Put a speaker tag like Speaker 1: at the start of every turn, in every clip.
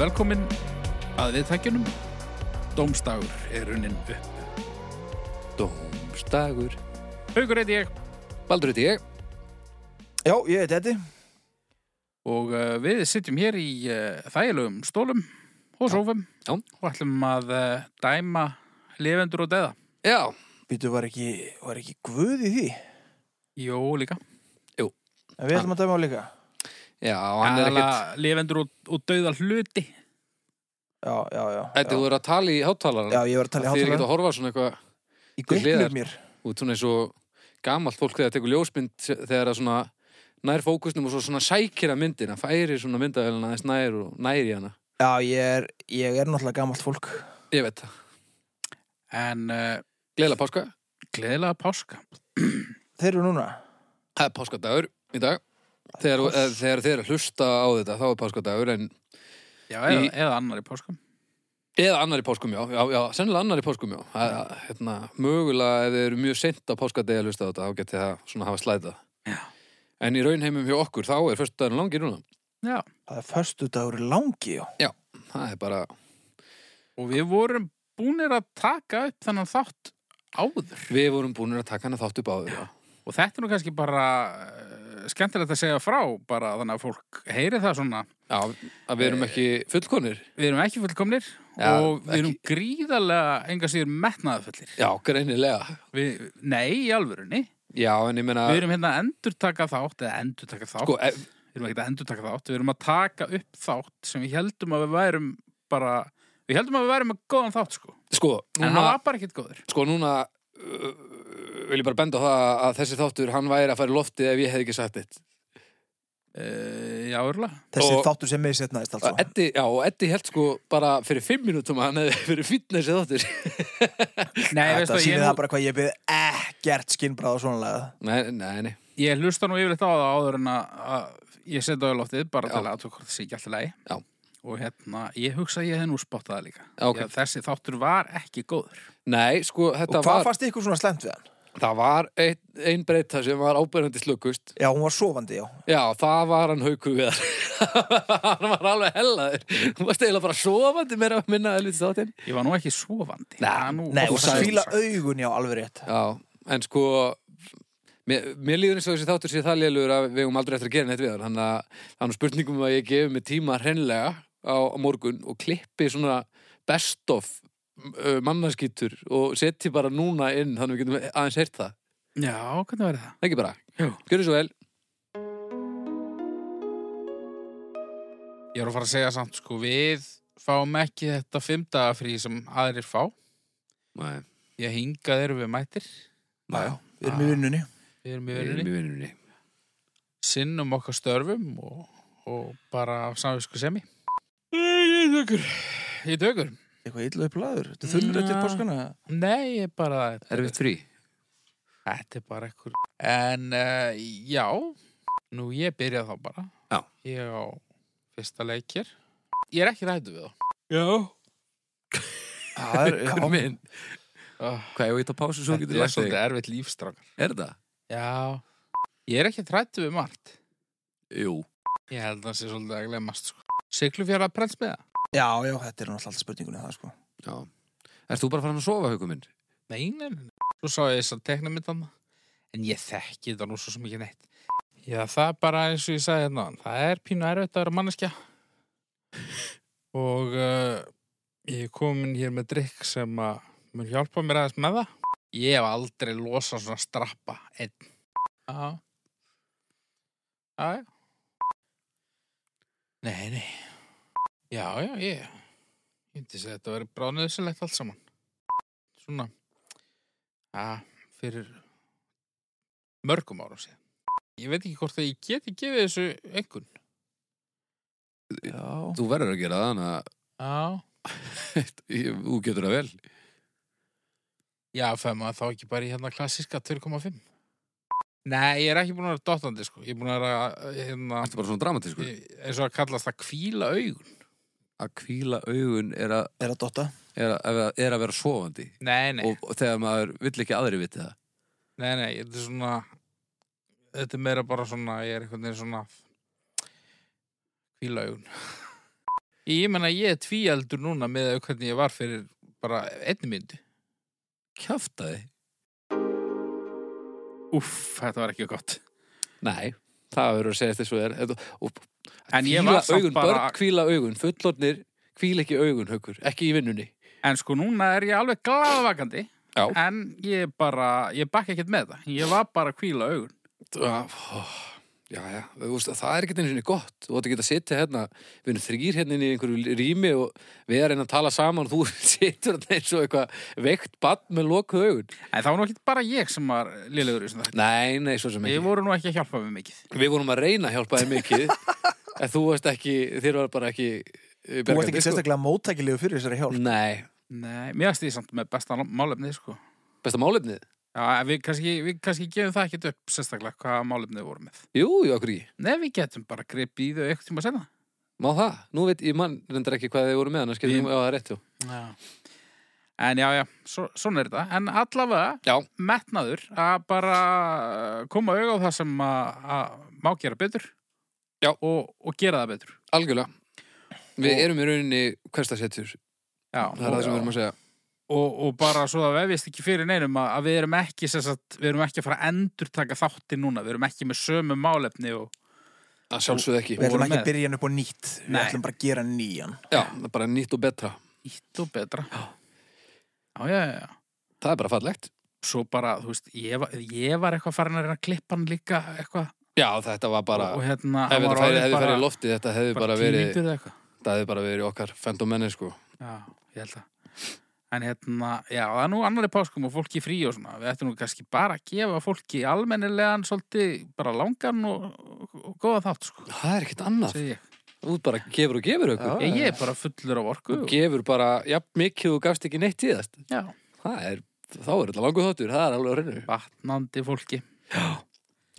Speaker 1: velkomin að viðtækjunum. Dómstagur er runnin upp.
Speaker 2: Dómstagur
Speaker 1: Haukur heiti ég
Speaker 2: Baldur heiti ég
Speaker 3: Já, ég heiti Eddi.
Speaker 1: og uh, við sitjum hér í uh, þægilegum stólum og sófum
Speaker 2: Já.
Speaker 1: og ætlum að uh, dæma lifendur og deða.
Speaker 2: Já,
Speaker 3: Býtu, var ekki, var ekki guð í því?
Speaker 1: Jó, líka.
Speaker 3: En við ætlum að dæma á líka.
Speaker 2: já, hann er ekkert
Speaker 1: Aðalega Lifendur og, og döða hluti.
Speaker 3: Já, já, já.
Speaker 2: Þetta
Speaker 3: já.
Speaker 2: þú er að tala í hátalarna
Speaker 3: Já, ég var að tala í
Speaker 2: Þið er ekkert
Speaker 3: hátalara.
Speaker 2: að horfa svona eitthvað
Speaker 3: Í
Speaker 2: til hliðar.
Speaker 3: gullnum mér.
Speaker 2: út svona eins og gamalt fólk þegar tekur ljósmynd þegar að svona nær fókusnum og svo svona sækir að myndina færir svona myndavélina aðeins nær og nær í hana
Speaker 3: Já, ég er, ég er náttúrulega gamalt fólk.
Speaker 2: Ég veit það
Speaker 1: En uh,
Speaker 2: Gleila páska
Speaker 1: gleðilega páska.
Speaker 3: Þeir eru núna.
Speaker 2: Það er páskadagur í dag Þegar,
Speaker 3: pás-
Speaker 2: eh, þegar þeir eru að hlusta á þetta þá er páskadagur en
Speaker 1: Já, eða,
Speaker 2: Í-
Speaker 1: eða annar í páskum.
Speaker 2: Eða annar í páskum, já, já, já, sennilega annar í páskum, já. Það, hérna, mögulega ef þið eru mjög seint á páskadegi að hlusta á þetta, þá getið það svona hafa slæta.
Speaker 1: Já.
Speaker 2: En í raunheimum hjá okkur, þá er fyrstu dagurinn langi núna.
Speaker 1: Já.
Speaker 3: Það er förstu dagur langi, já.
Speaker 2: Það er bara,
Speaker 1: Og við vorum búinir að taka upp þennan þátt áður.
Speaker 2: við vorum búin að taka hana þátt upp á þau, já.
Speaker 1: Og þetta er nú kannski bara uh, skemmtilegt að segja frá, bara þannig að fólk heyri það svona.
Speaker 2: Já, að við
Speaker 1: Eh,
Speaker 2: erum ekki fullkonir.
Speaker 1: Við erum ekki fullkomnir
Speaker 2: Já,
Speaker 1: og við erum gríðarlega enga síður metnaðafullir.
Speaker 2: Já, greinilega.
Speaker 1: Við, nei, í alvörunni.
Speaker 2: Já, en ég meina,
Speaker 1: Við erum hérna að endurtaka þátt eða endurtaka þátt.
Speaker 2: sko, ef,
Speaker 1: Við erum ekki að endurtaka þátt. Við erum að taka upp þátt sem við heldum að við værum bara... Við heldum að við værum með góðan þátt, sko.
Speaker 2: sko,
Speaker 1: En hann var bara ekkert góður.
Speaker 2: sko núna uh, vil ég bara benda á það að þessi þáttur, hann væri að fara í loftið ef ég hef ekki sagt þitt.
Speaker 1: Uh, já, örla.
Speaker 3: Þessi
Speaker 2: Og-
Speaker 3: þáttur sem misetnaðist,
Speaker 2: Og
Speaker 3: altså.
Speaker 2: Eddi, já, og Eddi held sko bara fyrir fimm minútum að hann hefði fyrir fýtna þessi þáttur.
Speaker 1: Nei, veistu
Speaker 3: Þetta
Speaker 1: að ég
Speaker 3: sýnir
Speaker 1: nú-
Speaker 3: það bara hvað ég byrði ekkert skinnbráð og svona lagað.
Speaker 2: Nei, nei, nei.
Speaker 1: Ég hlusta nú yfirleitt á það áður en að, að ég setja á loftið bara
Speaker 2: Já.
Speaker 1: til að aðtöku hvort það sé ekki alltaf lægi.
Speaker 2: Já.
Speaker 1: Og hérna, ég hugsa að ég hef nú spottað það líka.
Speaker 2: Já, ok.
Speaker 1: Ég- þessi þáttur var ekki góður.
Speaker 2: Nei, sko, þetta
Speaker 3: Og hvað
Speaker 2: var,
Speaker 3: fannst ykkur svona slemt við hann?
Speaker 2: það var ein, ein breyta sem var ábyrjandi slökust.
Speaker 3: Já, hún var sofandi, já.
Speaker 2: Já, það var hann haukur við hann var alveg hellaður. Hún var steyla bara sofandi meira að minna að lítið þáttinn.
Speaker 1: Ég var nú ekki sofandi.
Speaker 2: Nei,
Speaker 1: Það er nú,
Speaker 3: Nei,
Speaker 1: þú
Speaker 3: hún
Speaker 1: sagðir-
Speaker 3: fíla augun, já, alveg rétt.
Speaker 2: Já, en sko, mér, mér líður eins og þessi þáttur sér það lélugur að við eigum aldrei eftir að gera neitt við hann. Þannig að þannig spurningum að ég gefi mig tíma hreinlega á, á morgun og klippi svona best of uh, mannaskýtur og setji bara núna inn þannig við getum aðeins heyrt það.
Speaker 1: Já, hvernig verið það?
Speaker 2: Ekki bara.
Speaker 1: Jú.
Speaker 2: Gjörðu svo vel.
Speaker 1: Ég er að fara að segja samt, sko, við fáum ekki þetta fimmdaga frí sem aðrir fá.
Speaker 2: Nei.
Speaker 1: Ég hingað erum við mættir.
Speaker 3: Já, já. Við erum í vinnunni.
Speaker 1: Við erum í
Speaker 2: Við
Speaker 1: verðinni.
Speaker 2: í vinnunni.
Speaker 1: Sinnum okkar störfum og, og bara samvisku semi. Ég tökur. Ég tökur.
Speaker 3: Eitthvað illa upp laður. Þetta er þunnur eftir
Speaker 1: Já.
Speaker 3: páskana.
Speaker 1: Nei, ég bara...
Speaker 2: Erfitt frí.
Speaker 1: Þetta er bara ekkur En uh, já Nú ég byrja þá bara
Speaker 2: Já.
Speaker 1: Ég á fyrsta leikir Ég er ekki rættu við þá
Speaker 2: Já.
Speaker 3: Það er, já,
Speaker 2: minn.
Speaker 1: oh,
Speaker 2: Hvað, ég veit að pásu svo
Speaker 1: Þetta er svolítið erfitt lífstrákar
Speaker 2: Er það?
Speaker 1: Já Ég er ekki rættu við margt
Speaker 2: Jú.
Speaker 1: Ég held að það sé svolítið að glemast sko. Siglufjara prensmiða
Speaker 3: já, já, þetta er náttúrulega alltaf spurningunni það, sko.
Speaker 2: Já. Erst þú bara farin að sofa, haukum minn?
Speaker 1: Nei, nei, nei Svo sá ég þess að tekna mitt annað En ég þekki þetta nú svo sem ekki neitt Já, það er bara eins og ég sagði hérna áðan, Það er pínu erfitt að vera manneskja Og uh, ég er komin hér með drikk sem að mun hjálpa mér aðeins með það Ég hef aldrei losað svona strappa einn Já Já, já Nei, nei Já, já, ég Ég myndi segja að þetta verið bráðnöðsilegt allt saman Svona Já, fyrir mörgum árum síðan. Ég veit ekki hvort að ég geti gefið þessu einhvern.
Speaker 3: Já.
Speaker 2: Þú verður að gera það, þannig
Speaker 1: Já.
Speaker 2: að þú getur það vel.
Speaker 1: Já, fæði maður þá ekki bara í hérna klassiska 2,5. Nei, ég er ekki búin að vera dottandi, sko. Ég er búin að vera, hérna,
Speaker 2: Ertu bara svona dramatískur?
Speaker 1: ég- eins og að kallast það kvíla augun.
Speaker 2: Að kvíla augun er að,
Speaker 3: Er að dotta?
Speaker 2: er að, er að vera sofandi.
Speaker 1: Nei, nei,
Speaker 2: Og, og þegar maður vill ekki að aðri viti það.
Speaker 1: nei, nei, þetta er svona, þetta er meira bara svona, ég er einhvern veginn svona kvíla augun. Ég menna ég er tvíaldur núna með að hvernig ég var fyrir bara einni myndi.
Speaker 2: Kjaftaði?
Speaker 1: Úff, þetta var ekki gott.
Speaker 2: Nei, það verður að segja þessu er Þetta- og,
Speaker 1: En ég
Speaker 2: Hvíla
Speaker 1: var samt
Speaker 2: augun,
Speaker 1: bara-
Speaker 2: Börn kvíla augun, fullornir kvíla ekki augun, haukur, ekki í vinnunni
Speaker 1: En sko núna er ég alveg glaðvakandi.
Speaker 2: Já.
Speaker 1: En ég bara, ég bakk ekkert með það. Ég var bara að kvíla augun.
Speaker 2: Já, oh, já, já. Þú veist, það er ekkert einu sinni gott. Þú ætti að geta að sitja hérna, við erum þrýr hérna inn í einhverju rými og við erum að tala saman og þú situr þarna eins og eitthvað veikt bann með lokuð augun.
Speaker 1: En það var nú ekki bara ég sem var liðlegur í þessum þetta.
Speaker 2: Nei, nei, svo sem
Speaker 1: Ég
Speaker 2: ekki.
Speaker 1: voru nú ekki að hjálpa mig mikið.
Speaker 2: Við vorum að reyna að hjálpa þér mikið, en þú varst ekki, þér var bara ekki eh,
Speaker 3: Þú ert ekki
Speaker 2: bjargandi, sko.
Speaker 3: sérstaklega móttækilegu fyrir þessari hjálp
Speaker 2: Nei,
Speaker 1: Nei, mér varst því samt með besta málefnið, sko.
Speaker 2: besta málefnið?
Speaker 1: Já, en við kannski, við kannski gefum það ekkert upp sérstaklega hvað málefnið voru með.
Speaker 2: Jú, jú, okkur í.
Speaker 1: Nei, við getum bara gripið í þau eitthvað tíma senna.
Speaker 2: Má það? Nú veit, ég mann reyndar ekki hvað þið voru með, annars getum
Speaker 1: Ég-
Speaker 2: við að það er rétt, jú.
Speaker 1: Já. En já, já, svo, svona er þetta. En allavega,
Speaker 2: Já,
Speaker 1: metnaður að bara uh, koma auga á það sem að, að má gera betur
Speaker 2: Já.
Speaker 1: og, og gera það betur.
Speaker 2: algjörlega. Við
Speaker 1: Og-
Speaker 2: erum í rauninni hverstasettur,
Speaker 1: Já,
Speaker 2: það er það sem við erum að segja.
Speaker 1: og, og bara svo að vefist ekki fyrir neinum að, að við erum ekki sem sagt, við erum ekki að fara að endurtaka þátti núna, við erum ekki með sömu málefni og
Speaker 2: Að sjálfsögðu ekki.
Speaker 3: Við ætlum
Speaker 1: vorum
Speaker 3: ekki
Speaker 1: með.
Speaker 3: að byrja hann upp á nýtt Við
Speaker 1: Nei.
Speaker 3: ætlum bara að gera nýjan
Speaker 2: Já, það er bara nýtt og betra.
Speaker 1: ítt og betra
Speaker 2: Já.
Speaker 1: já, já, já, já.
Speaker 2: Það er bara fallegt.
Speaker 1: svo bara, þú veist, ég var, ég var eitthvað farin að reyna að klippa hann líka eitthvað
Speaker 2: Já, þetta var bara,
Speaker 1: og hérna,
Speaker 2: ef þetta
Speaker 1: var
Speaker 2: færi,
Speaker 1: orðinn
Speaker 2: hefði færið loftið, þetta hefði bara, verið,
Speaker 1: tínýtur eða eitthvað.
Speaker 2: það hefði bara verið okkar fendomenni, sko.
Speaker 1: já, ég held það en hérna, já, það er nú annar í páskum og fólki í frí og svona, við ættum nú kannski bara að gefa fólki almennilegan svolítið bara langan og, og, og góða þátt, sko,
Speaker 2: Það er ekkert annað.
Speaker 1: segi ég
Speaker 2: Þú bara gefur og gefur okkur.
Speaker 1: ég, ég er bara fullur af orku
Speaker 2: Þú
Speaker 1: og,
Speaker 2: gefur bara, jafn mikið og gafst ekki neitt í það.
Speaker 1: já,
Speaker 2: Það er, þá er þetta langur þóttur, það er alveg að reynu.
Speaker 1: batnandi fólki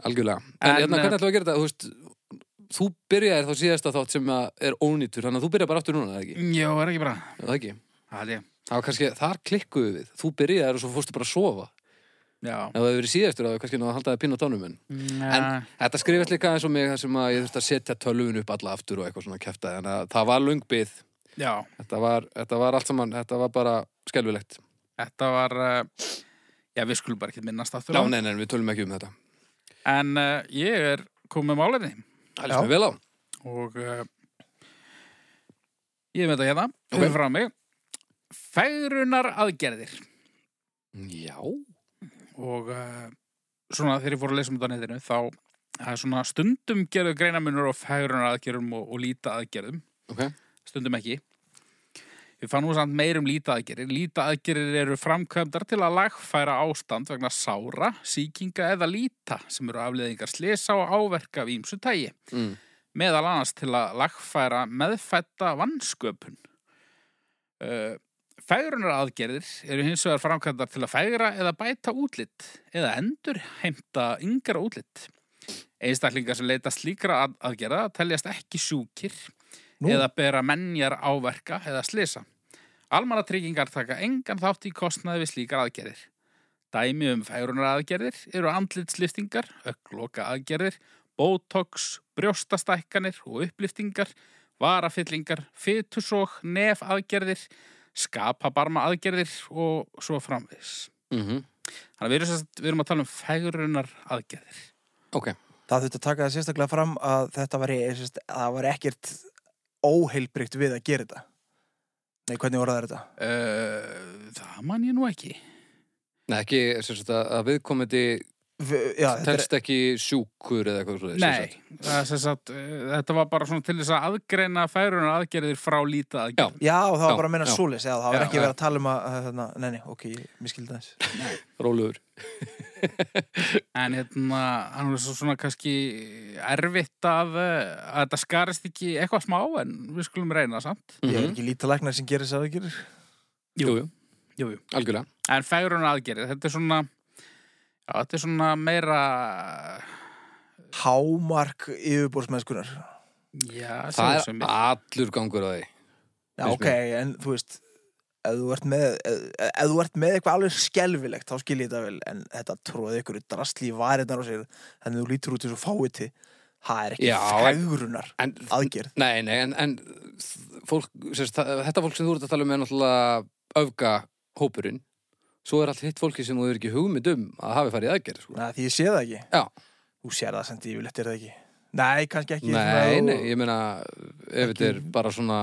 Speaker 2: Algjörlega. En,
Speaker 1: En,
Speaker 2: hérna,
Speaker 1: eh,
Speaker 2: hvernig ætlum við að gera þetta? Þú veist, þú byrjaðir þá síðasta þátt sem að er ónýtur, þannig að þú byrjaði bara aftur núna, eða ekki?
Speaker 1: já, er ekki bara
Speaker 2: Er Það ekki?
Speaker 1: það er ég,
Speaker 2: Það var kannski, þar klikkuðu við. Þú byrjaðir og svo fórstu bara að sofa.
Speaker 1: já
Speaker 2: Ef það hefur verið síðastur, þá hefur kannski náð að halda það pinn á tánum, en
Speaker 1: en,
Speaker 2: Þetta skrifast líka eins og mig þar sem að ég þurfti að setja tölvun upp alla aftur og eitthvað svona kæfta þannig að það var lungbið
Speaker 1: já,
Speaker 2: þetta var, þetta var allt saman, þetta var bara skelvilegt.
Speaker 1: þetta var uh, já, við skulum bara ekki minnast aftur á
Speaker 2: Já,
Speaker 1: það.
Speaker 2: nei, nei, við tölum ekki um þetta.
Speaker 1: en uh, ég er komið með málefni
Speaker 2: Það lýst mér vel á.
Speaker 1: og uh, ég er með þetta hérna
Speaker 2: Ok.
Speaker 1: okay. frá mig fegrunar aðgerðir
Speaker 2: Já.
Speaker 1: og uh, svona þegar ég fór að lesa um þetta á netinu þá það er svona stundum gerðu greinamunur og fegrunar aðgerðum og, og líta aðgerðum
Speaker 2: Ok.
Speaker 1: stundum ekki. Við fann nú samt meir um lítaðgerir. Lítaðgerir eru framkvæmdar til að lagfæra ástand vegna sára, sýkinga eða líta sem eru afleðingar slisa og áverka af ímsu tægi.
Speaker 2: Mm.
Speaker 1: Meðal annars til að lagfæra meðfætta vannsköpun. Uh, fægrunar aðgerðir eru hins vegar framkvæmdar til að fægra eða bæta útlitt eða endur heimta yngra útlitt. Einstaklingar sem leita slíkra að aðgerða teljast ekki sjúkir
Speaker 3: Nú,
Speaker 1: eða bera menjar áverka eða slisa. Almannatryggingar taka engan þátt í kostnaði við slíkar aðgerðir. Dæmi um færunar aðgerðir eru andlitsliftingar, öggloka aðgerðir, botox, brjóstastækkanir og uppliftingar, varafyllingar, fytusók, nef aðgerðir, skapabarma aðgerðir og svo framvis.
Speaker 2: Mm
Speaker 1: Þannig að við erum, sem sagt- við erum að tala um færunar aðgerðir.
Speaker 2: Ok.
Speaker 3: það þurfti að taka það sérstaklega fram að þetta var, sérst, það var ekkert óheilbrygt við að gera þetta Nei, hvernig voru það þetta?
Speaker 1: Uh, það man ég nú ekki.
Speaker 2: Nei, ekki, sem sagt, að að viðkomandi
Speaker 3: V já, þetta er,
Speaker 2: telst ekki sjúkur eða eitthvað svo
Speaker 1: Nei, það er sem sagt, uh, þetta var bara svona til þess að aðgreina færunar aðgerðir frá lítið aðgerðir.
Speaker 3: já, það var
Speaker 2: Já,
Speaker 3: bara að minna
Speaker 2: já.
Speaker 3: svolis Já, það var
Speaker 1: Já,
Speaker 3: ekki
Speaker 1: já.
Speaker 3: verið að tala um að að þarna, Nei, nei, ok, ég miskildi það eins
Speaker 2: Róluður.
Speaker 1: En hérna, hann er svo svona kannski erfitt að, uh, að þetta skarist ekki eitthvað smá en við skulum reyna samt.
Speaker 2: Mm
Speaker 3: Ég er ekki lítalæknar sem gerir þess að það gerir
Speaker 2: Jú, jú.
Speaker 1: Jú, jú.
Speaker 2: Algjörlega.
Speaker 1: En færunar aðgerðir, þetta er svona, já, þetta er svona meira,
Speaker 3: Hámark yfirbórsmennskunar
Speaker 1: já,
Speaker 2: Það
Speaker 1: segðu
Speaker 2: er
Speaker 1: sem ég.
Speaker 2: allur gangur á því.
Speaker 3: Já,
Speaker 2: Finnst
Speaker 3: ok, en þú veist ef þú ert með, ef, ef þú ert með eitthvað alveg skelfilegt, þá skil ég þetta vel en þetta tróði ykkur drastli í varirnar á sér þannig að þú lítur út eins og fáið til það er ekki
Speaker 2: Já, en-
Speaker 3: fegrunar
Speaker 2: En,
Speaker 3: aðgerð
Speaker 2: nei, nei, en, en fólk, sérst, það- þetta fólk sem þú ert að tala um er náttúrulega öfga hópurinn. Svo er allt hitt fólki sem þú er ekki hugmynd um að hafi farið í aðgerð, sko.
Speaker 3: Nei, því ég sé það ekki
Speaker 2: Já.
Speaker 3: Þú sér það sem dífilegt er það ekki Nei, kannski ekki
Speaker 2: Nei,
Speaker 3: svona-
Speaker 2: nei, ég meina, ef þetta er bara svona,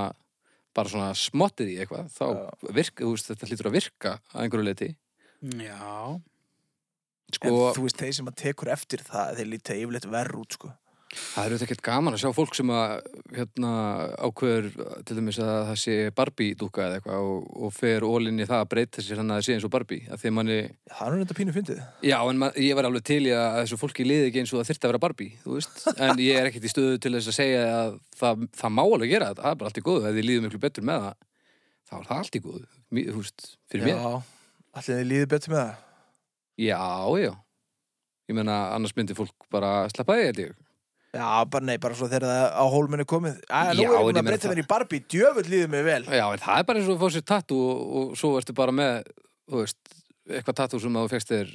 Speaker 2: bara svona smottir í eitthvað, þá virka, þú veist, þetta hlýtur að virka að einhverju leiti.
Speaker 1: Já.
Speaker 3: En
Speaker 2: Sko,
Speaker 3: þú veist, þeir sem að tekur eftir það þeir líta yfirleitt verr út sko.
Speaker 2: það er auðvitað ekkert gaman að sjá fólk sem að, hérna, ákveður til dæmis að það sé Barbie dúka eða eitthvað og, og fer ólinni það að breyta sér hann að það sé eins og Barbie. Að því að manni,
Speaker 3: Það er nú reynda pínu fyndið
Speaker 2: já, en man, ég var alveg til í að þessu fólki liði ekki eins og það þyrfti að vera Barbie, þú veist. En ég er ekkert í stöðu til þess að segja að það, það má alveg gera þetta, það er bara allt í góðu, ef þið líður miklu betur með það, þá er það allt í góðu, Mí- þú veist, fyrir mér.
Speaker 3: Já, allir þið líði betur með það
Speaker 2: Já, já. Ég meina, annars myndi fólk bara sleppa því, held ég.
Speaker 3: Já, bara nei, bara svo þegar það á hólmenni komið Æ,
Speaker 2: Já,
Speaker 3: nú er ég
Speaker 2: en ég
Speaker 3: búin að
Speaker 2: meina
Speaker 3: breyta
Speaker 2: það-
Speaker 3: mér í Barbie Djöfull líði mér vel
Speaker 2: Já, en það er bara eins og að fá sér tattoo og, og svo ertu bara með, þú veist, eitthvað tattoo sem að þú fegst þér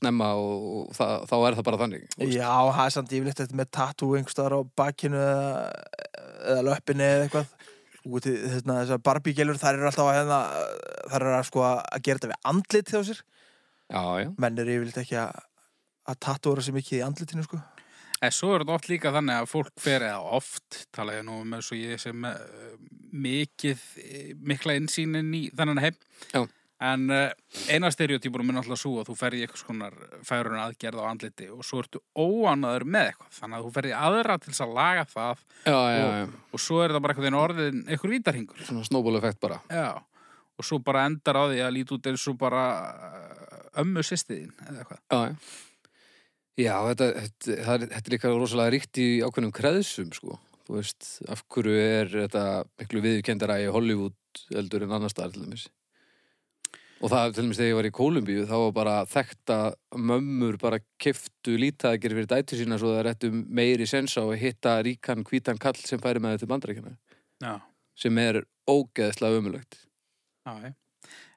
Speaker 2: snemma og, og það, þá er það bara þannig. þú veist.
Speaker 3: Já, það er samt yfirleitt þetta með tattoo einhverstaðar á bakkinu eða, eða löppinu eða eitthvað Úti, þessna, þessar barbígelur, þær eru alltaf að hérna, þær eru að sko að gera þetta við andlit hjá sér,
Speaker 2: Já, já.
Speaker 3: menn eru yfirleitt ekki að að tattóra sér mikið í andlitinu sko
Speaker 1: En svo er þetta oft líka þannig að fólk fer eða oft, tala ég nú með svo ég sem uh, mikið, eh, mikla insýnin í þannig heim.
Speaker 2: Já.
Speaker 1: En uh, eina stereotypunum er náttúrulega svo að þú ferði eitthvað skonar færun aðgerð á andliti og svo ertu óanæður með eitthvað. Þannig að þú ferði aðra til þess að laga það
Speaker 2: Já, já, já.
Speaker 1: og svo er það bara eitthvað orðin, eitthvað vítarhingur.
Speaker 2: Svona snóból effekt bara.
Speaker 1: Já, og svo bara endar á því að líti út eins og bara eh, ömmu sýstiðin eða eitthvað.
Speaker 2: Já, já. Já, þetta, þetta, það er- þetta er líka rosalega ríkt í ákveðnum kreðsum, sko. Þú veist, af hverju er þetta miklu viðkendara í Hollywood eldur en annar staðar til dæmis. Og það, til dæmis, þegar ég var í Kólumbíu, þá var bara þekkt að mömmur bara keftu lítagir fyrir dætu sína svo það réttu meiri sens á að hitta ríkan, hvítan kall sem færi með þetta bandarækjana,
Speaker 1: Já.
Speaker 2: sem er ógeðslega ömulegt.
Speaker 1: Já, já.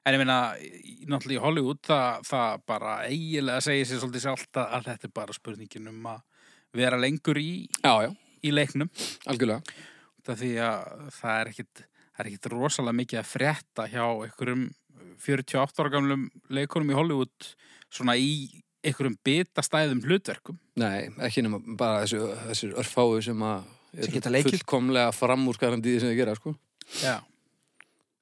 Speaker 1: En ég meina, í- náttúrulega í Hollywood það, það bara eiginlega segir sér svolítið sjálft að, að þetta er bara spurningin um að vera lengur í,
Speaker 2: Já, já,
Speaker 1: í leiknum.
Speaker 2: algjörlega.
Speaker 1: Það því að það er ekkit, það er ekkit rosalega mikið að frétta hjá einhverjum eh, 48 ára gamlum leikunum í Hollywood svona í einhverjum bitastæðum hlutverkum.
Speaker 2: Nei, ekki nema bara þessi, þessir örfáu sem að
Speaker 3: Sem
Speaker 2: eru
Speaker 3: geta leikið.
Speaker 2: fullkomlega framúrskarandi í því sem þið gera, sko.
Speaker 1: Já.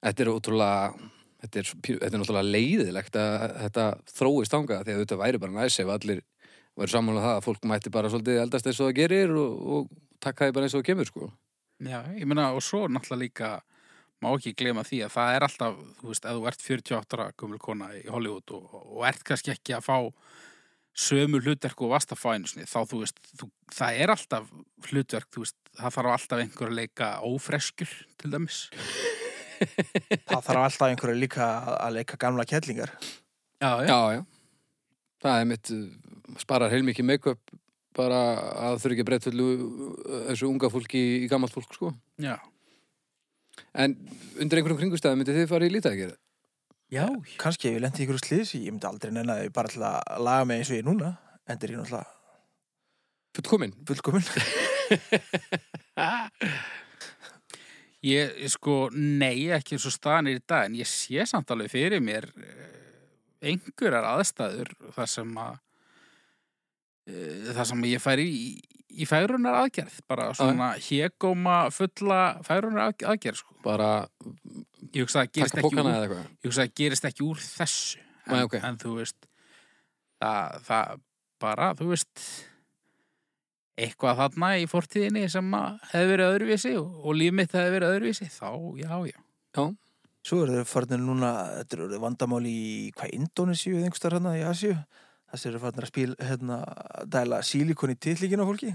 Speaker 2: Þetta er ótrúlega, þetta er, svo pínu- þetta er náttúrulega leiðilegt að þetta þróist þangað því að þetta væri bara næs ef allir væri sammála um það að fólk mætti bara svolítið eldast eins og það gerir og, og taka því bara eins og það kemur, sko.
Speaker 1: Já, ég meina og svo náttúrulega líka má ekki glema því að það er alltaf, þú veist, ef þú ert 48 ára gömul kona í Hollywood og, og ert kannski ekki að fá sömu hlutverk og vast að fá einu sinni, þá þú veist, þú, það er alltaf hlutverk, þú veist, það þarf alltaf einhver að leika ófreskjur til dæmis.
Speaker 3: það þarf alltaf einhverju líka að leika gamla kettlingar
Speaker 1: Já,
Speaker 2: Já, já. Það er mitt, uh, sparar heilmikið make-up bara að þurfi ekki að breytta öllu uh, þessu unga fólki í gamalt fólk, sko.
Speaker 1: já.
Speaker 2: En undir einhverjum kringustæðum myndi þið fara í lítagir?
Speaker 1: Já,
Speaker 3: kannski ef ég lendi ykkur slýðis ég myndi aldrei nenni að ég bara ætla að laga mig eins og ég er núna en er ég náttúrulega
Speaker 2: Fullkomin?
Speaker 3: fullkomin
Speaker 1: Ég, ég sko, nei, ekki eins og staðan er í dag, en ég sé samt alveg fyrir mér eh, einhverjar aðstæður þar sem að eh, þar sem ég færi í, í færunar aðgerð,
Speaker 2: Ah.
Speaker 1: bara svona hégóma fulla færunar aðgerð, sko.
Speaker 2: Bara
Speaker 1: Ég hugsa að það gerist
Speaker 2: taka
Speaker 1: ekki
Speaker 2: bókana
Speaker 1: úr,
Speaker 2: eða eitthvað?
Speaker 1: ég hugsa að það gerist ekki úr þessu. En,
Speaker 2: Nei, ok.
Speaker 1: en þú veist, það, það bara, þú veist, eitthvað þarna í fortíðinni sem að hefði verið öðruvísi og, og líf mitt hefði verið öðruvísi, þá, já, já.
Speaker 3: Svo eru þau farnir núna, þetta eru vandamál í hvað Indonesíu eða einhverstaðar hérna í Asíu. Þessi eru farnir að spil, hérna, dæla sílikon í titlíkinu á fólki.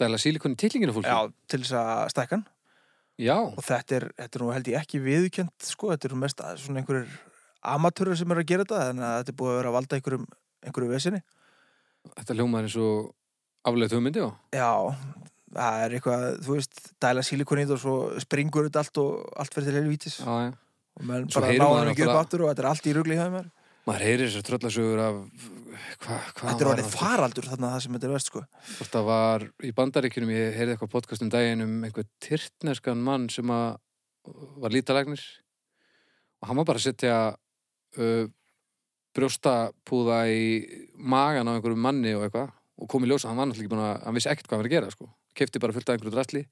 Speaker 2: Dæla sílikon í tillinginu fólki?
Speaker 3: Já, til þess að stækkan.
Speaker 2: Já,
Speaker 3: Og þetta er, þetta er nú held ég ekki viðkjönd, sko, þetta eru mest að svona einhverjir amatörur sem eru að gera þetta, þannig að þetta er búið að vera að valda einhverjum, einhverju vesinni.
Speaker 2: þetta hljómaður eins og aflega hugmyndi og
Speaker 3: Já, það er eitthvað, þú veist, dæla sílikon í þetta og svo springur þetta allt og allt fyrir til helvítis.
Speaker 2: já, já.
Speaker 3: Og menn
Speaker 2: Svo
Speaker 3: bara
Speaker 2: heyrir
Speaker 3: náður
Speaker 2: maður
Speaker 3: ekki upp
Speaker 2: náttúrulega-
Speaker 3: aftur og þetta er allt í rugli hjá þeim.
Speaker 2: Maður heyrir þessar tröllasögur af hva, hvað
Speaker 3: Þetta er
Speaker 2: var
Speaker 3: orðið
Speaker 2: aftur?
Speaker 3: faraldur þarna það sem þetta er verst sko
Speaker 2: Hvort það var í bandaríkjunum, ég heyrði eitthvað podcast um daginn um einhver tyrtneskan mann sem að uh, var lítalagnir og hann var bara að setja uh, brjóstapúða í magan á einhverjum manni og eitthvað og kom í ljósa, hann var náttúrulega ekki búin að, hann vissi ekkert hvað hann var að gera sko, kefti bara fullt af einhverju drastli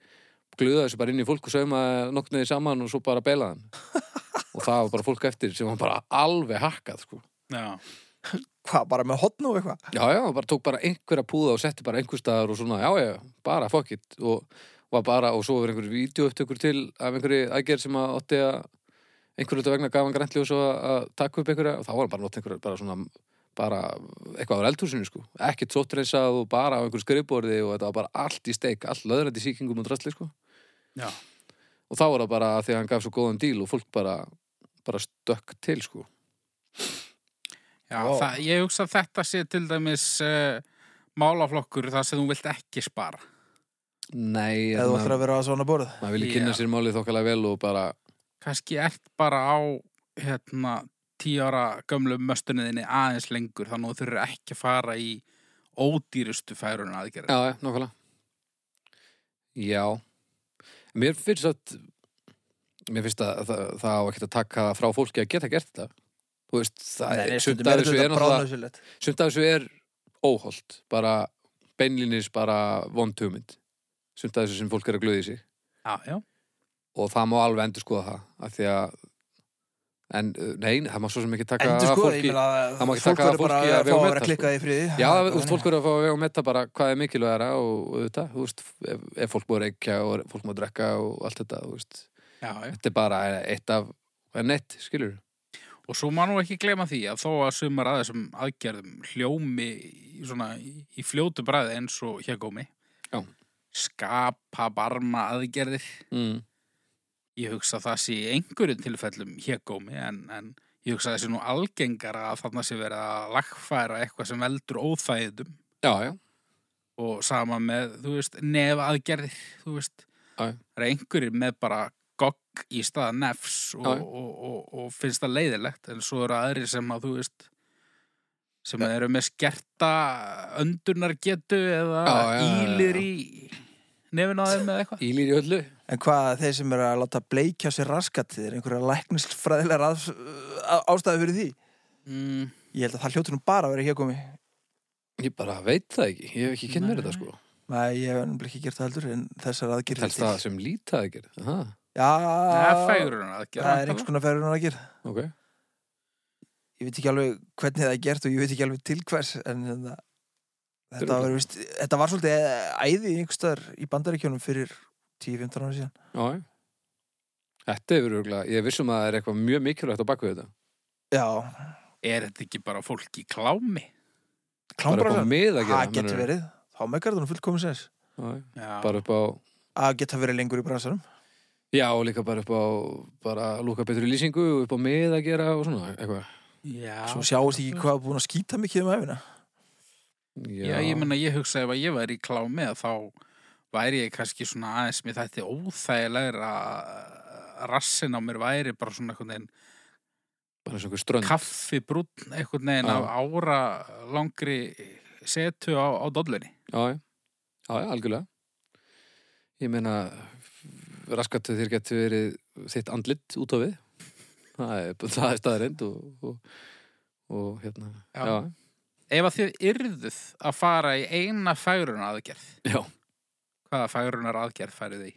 Speaker 2: glöðaði þessu bara inn í fólk og saumaði nokkniði saman og svo bara belaði hann og það var bara fólk eftir sem var bara alveg hakkað sko
Speaker 1: Já.
Speaker 3: Hvað, bara með hotn og eitthvað?
Speaker 2: Já, já, hann bara tók bara einhverja púða og setti bara einhver staðar og svona, já, já, bara fuck it og var bara, og svo var einhverju vídeoupptökur til af einhverju aðgerð sem að ótti að einhverju þetta vegna gaf hann græntli og svo að taka upp einhverja og þá var hann bara nótt einhverju, bara svona bara eitthvað á eldhúsinu, sko ekkert sóttreisað og bara á einhverju skrifborði og þetta var bara allt í steik, allt löðrandi sýkingum og drastli, sko
Speaker 1: Já.
Speaker 2: og þá var það bara að því að hann gaf svo góðan díl og fólk bara, bara stökk til, sko
Speaker 1: Já,
Speaker 3: Vá.
Speaker 1: það, ég hugsa að þetta sé til dæmis uh, málaflokkur þar sem þú vilt ekki spara.
Speaker 2: Nei,
Speaker 3: Eða þú
Speaker 2: hérna,
Speaker 3: ætlar að vera á svona borð
Speaker 2: maður vilja kynna
Speaker 1: Já.
Speaker 2: sér málið þokkalega vel og bara
Speaker 1: Kannski ert bara á hérna, tíu ára gömlu möstuninni aðeins lengur þannig að þú þurfur ekki að fara í ódýrustu færun aðgerð.
Speaker 2: Já, já, nákvæmlega Já Mér finnst að Mér finnst að það, það á ekkert að taka frá fólki að geta gert þetta Þú veist, það er sumt af þessu er náttúrulega
Speaker 3: bráðnausilegt
Speaker 2: sumt af þessu er óholt bara beinlinis bara vond hugmynd sumt af þessu sem fólk er að glöði sig
Speaker 1: Já, já.
Speaker 2: og það má alveg endur skoða það af því að en, uh, nei, það má svo sem ekki taka
Speaker 3: Endur sko,
Speaker 2: fólki
Speaker 3: ég
Speaker 2: það má
Speaker 3: meina
Speaker 2: ekki
Speaker 3: Fólk
Speaker 2: taka
Speaker 3: verður bara
Speaker 2: fólki að vega
Speaker 3: að fá að
Speaker 2: meta,
Speaker 3: vera
Speaker 2: sko.
Speaker 3: klikkað í friði
Speaker 2: Já,
Speaker 3: Það
Speaker 2: þú
Speaker 3: er
Speaker 2: veist, fólk
Speaker 3: þannig.
Speaker 2: verður að fá að vega og metta bara hvað er mikilvægara og, og þetta, þú veist, ef, ef fólk múið reykja og fólk múið drekka og allt þetta, þú veist,
Speaker 1: já, já.
Speaker 2: þetta er bara eitt af, en nett, skilur
Speaker 1: Og svo má nú ekki glema því að þó að sumar að þessum aðgerðum hljómi í svona í í fljótu bræði eins og hér gómi.
Speaker 2: Já.
Speaker 1: Skapa barma aðgerðir.
Speaker 2: mm.
Speaker 1: Ég hugsa að það sé í einhverjum tilfellum hér gómi en, en ég hugsa að það sé nú algengara að þarna sé verið að lagfæra eitthvað sem veldur óþægðum
Speaker 2: Já, já,
Speaker 1: og sama með, þú veist, nef aðgerðir, þú veist.
Speaker 2: Já, já.
Speaker 1: Það er einhverjir með bara gogg í staða nefs og,
Speaker 2: Já, já.
Speaker 1: og, og, og finnst það leiðilegt en svo eru aðrir sem að, þú veist, sem eru með skerta öndunargetu eða
Speaker 2: Já, já, já, já, já.
Speaker 1: ílir í nefin á þeim eða eitthvað.
Speaker 2: ílir í öllu
Speaker 3: En hvað þeir sem eru að láta bleikja sér raskat Þeir eru einhverja læknisfræðilega ástæði fyrir því
Speaker 1: Mm,
Speaker 3: Ég held að það hljótur nú bara að vera hér komi
Speaker 2: Ég bara veit það ekki, ég hef ekki kynnt mér
Speaker 1: Nei.
Speaker 2: þetta, sko
Speaker 3: Nei, ég hef ennum ekki gert það heldur En þessar aðgerð
Speaker 2: Telst það sem lítið að gera, aha,
Speaker 1: það er
Speaker 3: Já,
Speaker 1: fægurinn aðgerð.
Speaker 3: það er einhvers konar færunar aðgerð
Speaker 2: ok
Speaker 3: ég veit ekki alveg hvernig það er gert og ég veit ekki alveg til hvers en þetta, þetta,
Speaker 2: Örugglega.
Speaker 3: var, vist, þetta var svolítið eh, æði einhverstaðar í bandaríkjónum fyrir 10-15 ára
Speaker 2: Já,
Speaker 3: síðan
Speaker 2: já Þetta hefur örgulega, ég er vissum að það er eitthvað mjög mikilvægt á baku þetta
Speaker 3: já,
Speaker 1: Er þetta ekki bara fólk í klámi?
Speaker 2: Bara upp á
Speaker 3: klámbransan,
Speaker 2: mið að gera
Speaker 3: það getur
Speaker 2: meinarðu?
Speaker 3: verið þá megar það nú fullkomis eins
Speaker 2: Já, já.
Speaker 1: Já.
Speaker 2: Bara upp á
Speaker 3: að geta verið lengur í bransanum
Speaker 2: Já, og líka bara upp á bara lúka betri lýsingu og upp á mið að gera og svona, eitthvað
Speaker 1: Já.
Speaker 3: svo sjáist ekki hvað er búin að skýta mikið um æfina
Speaker 1: Já, ég meina, ég hugsa ef að ég væri í klámi að þá væri ég kannski svona aðeins mér þætti óþægilegra að rassin á mér væri bara svona einhvern veginn
Speaker 2: bara eins og einhver strönd
Speaker 1: kaffibrúnn einhvern veginn
Speaker 2: Já.
Speaker 1: af ára langri setu á, á dollunni.
Speaker 2: já, já, já, já, algjörlega ég meina raskatu þér getur verið þitt andlit út á við það er, það er staðarind og, og, og hérna
Speaker 1: Já.
Speaker 2: já,
Speaker 1: Ef að þið yrðuð að fara í eina færunar aðgerð,
Speaker 2: já.
Speaker 1: hvaða færunar aðgerð færið því?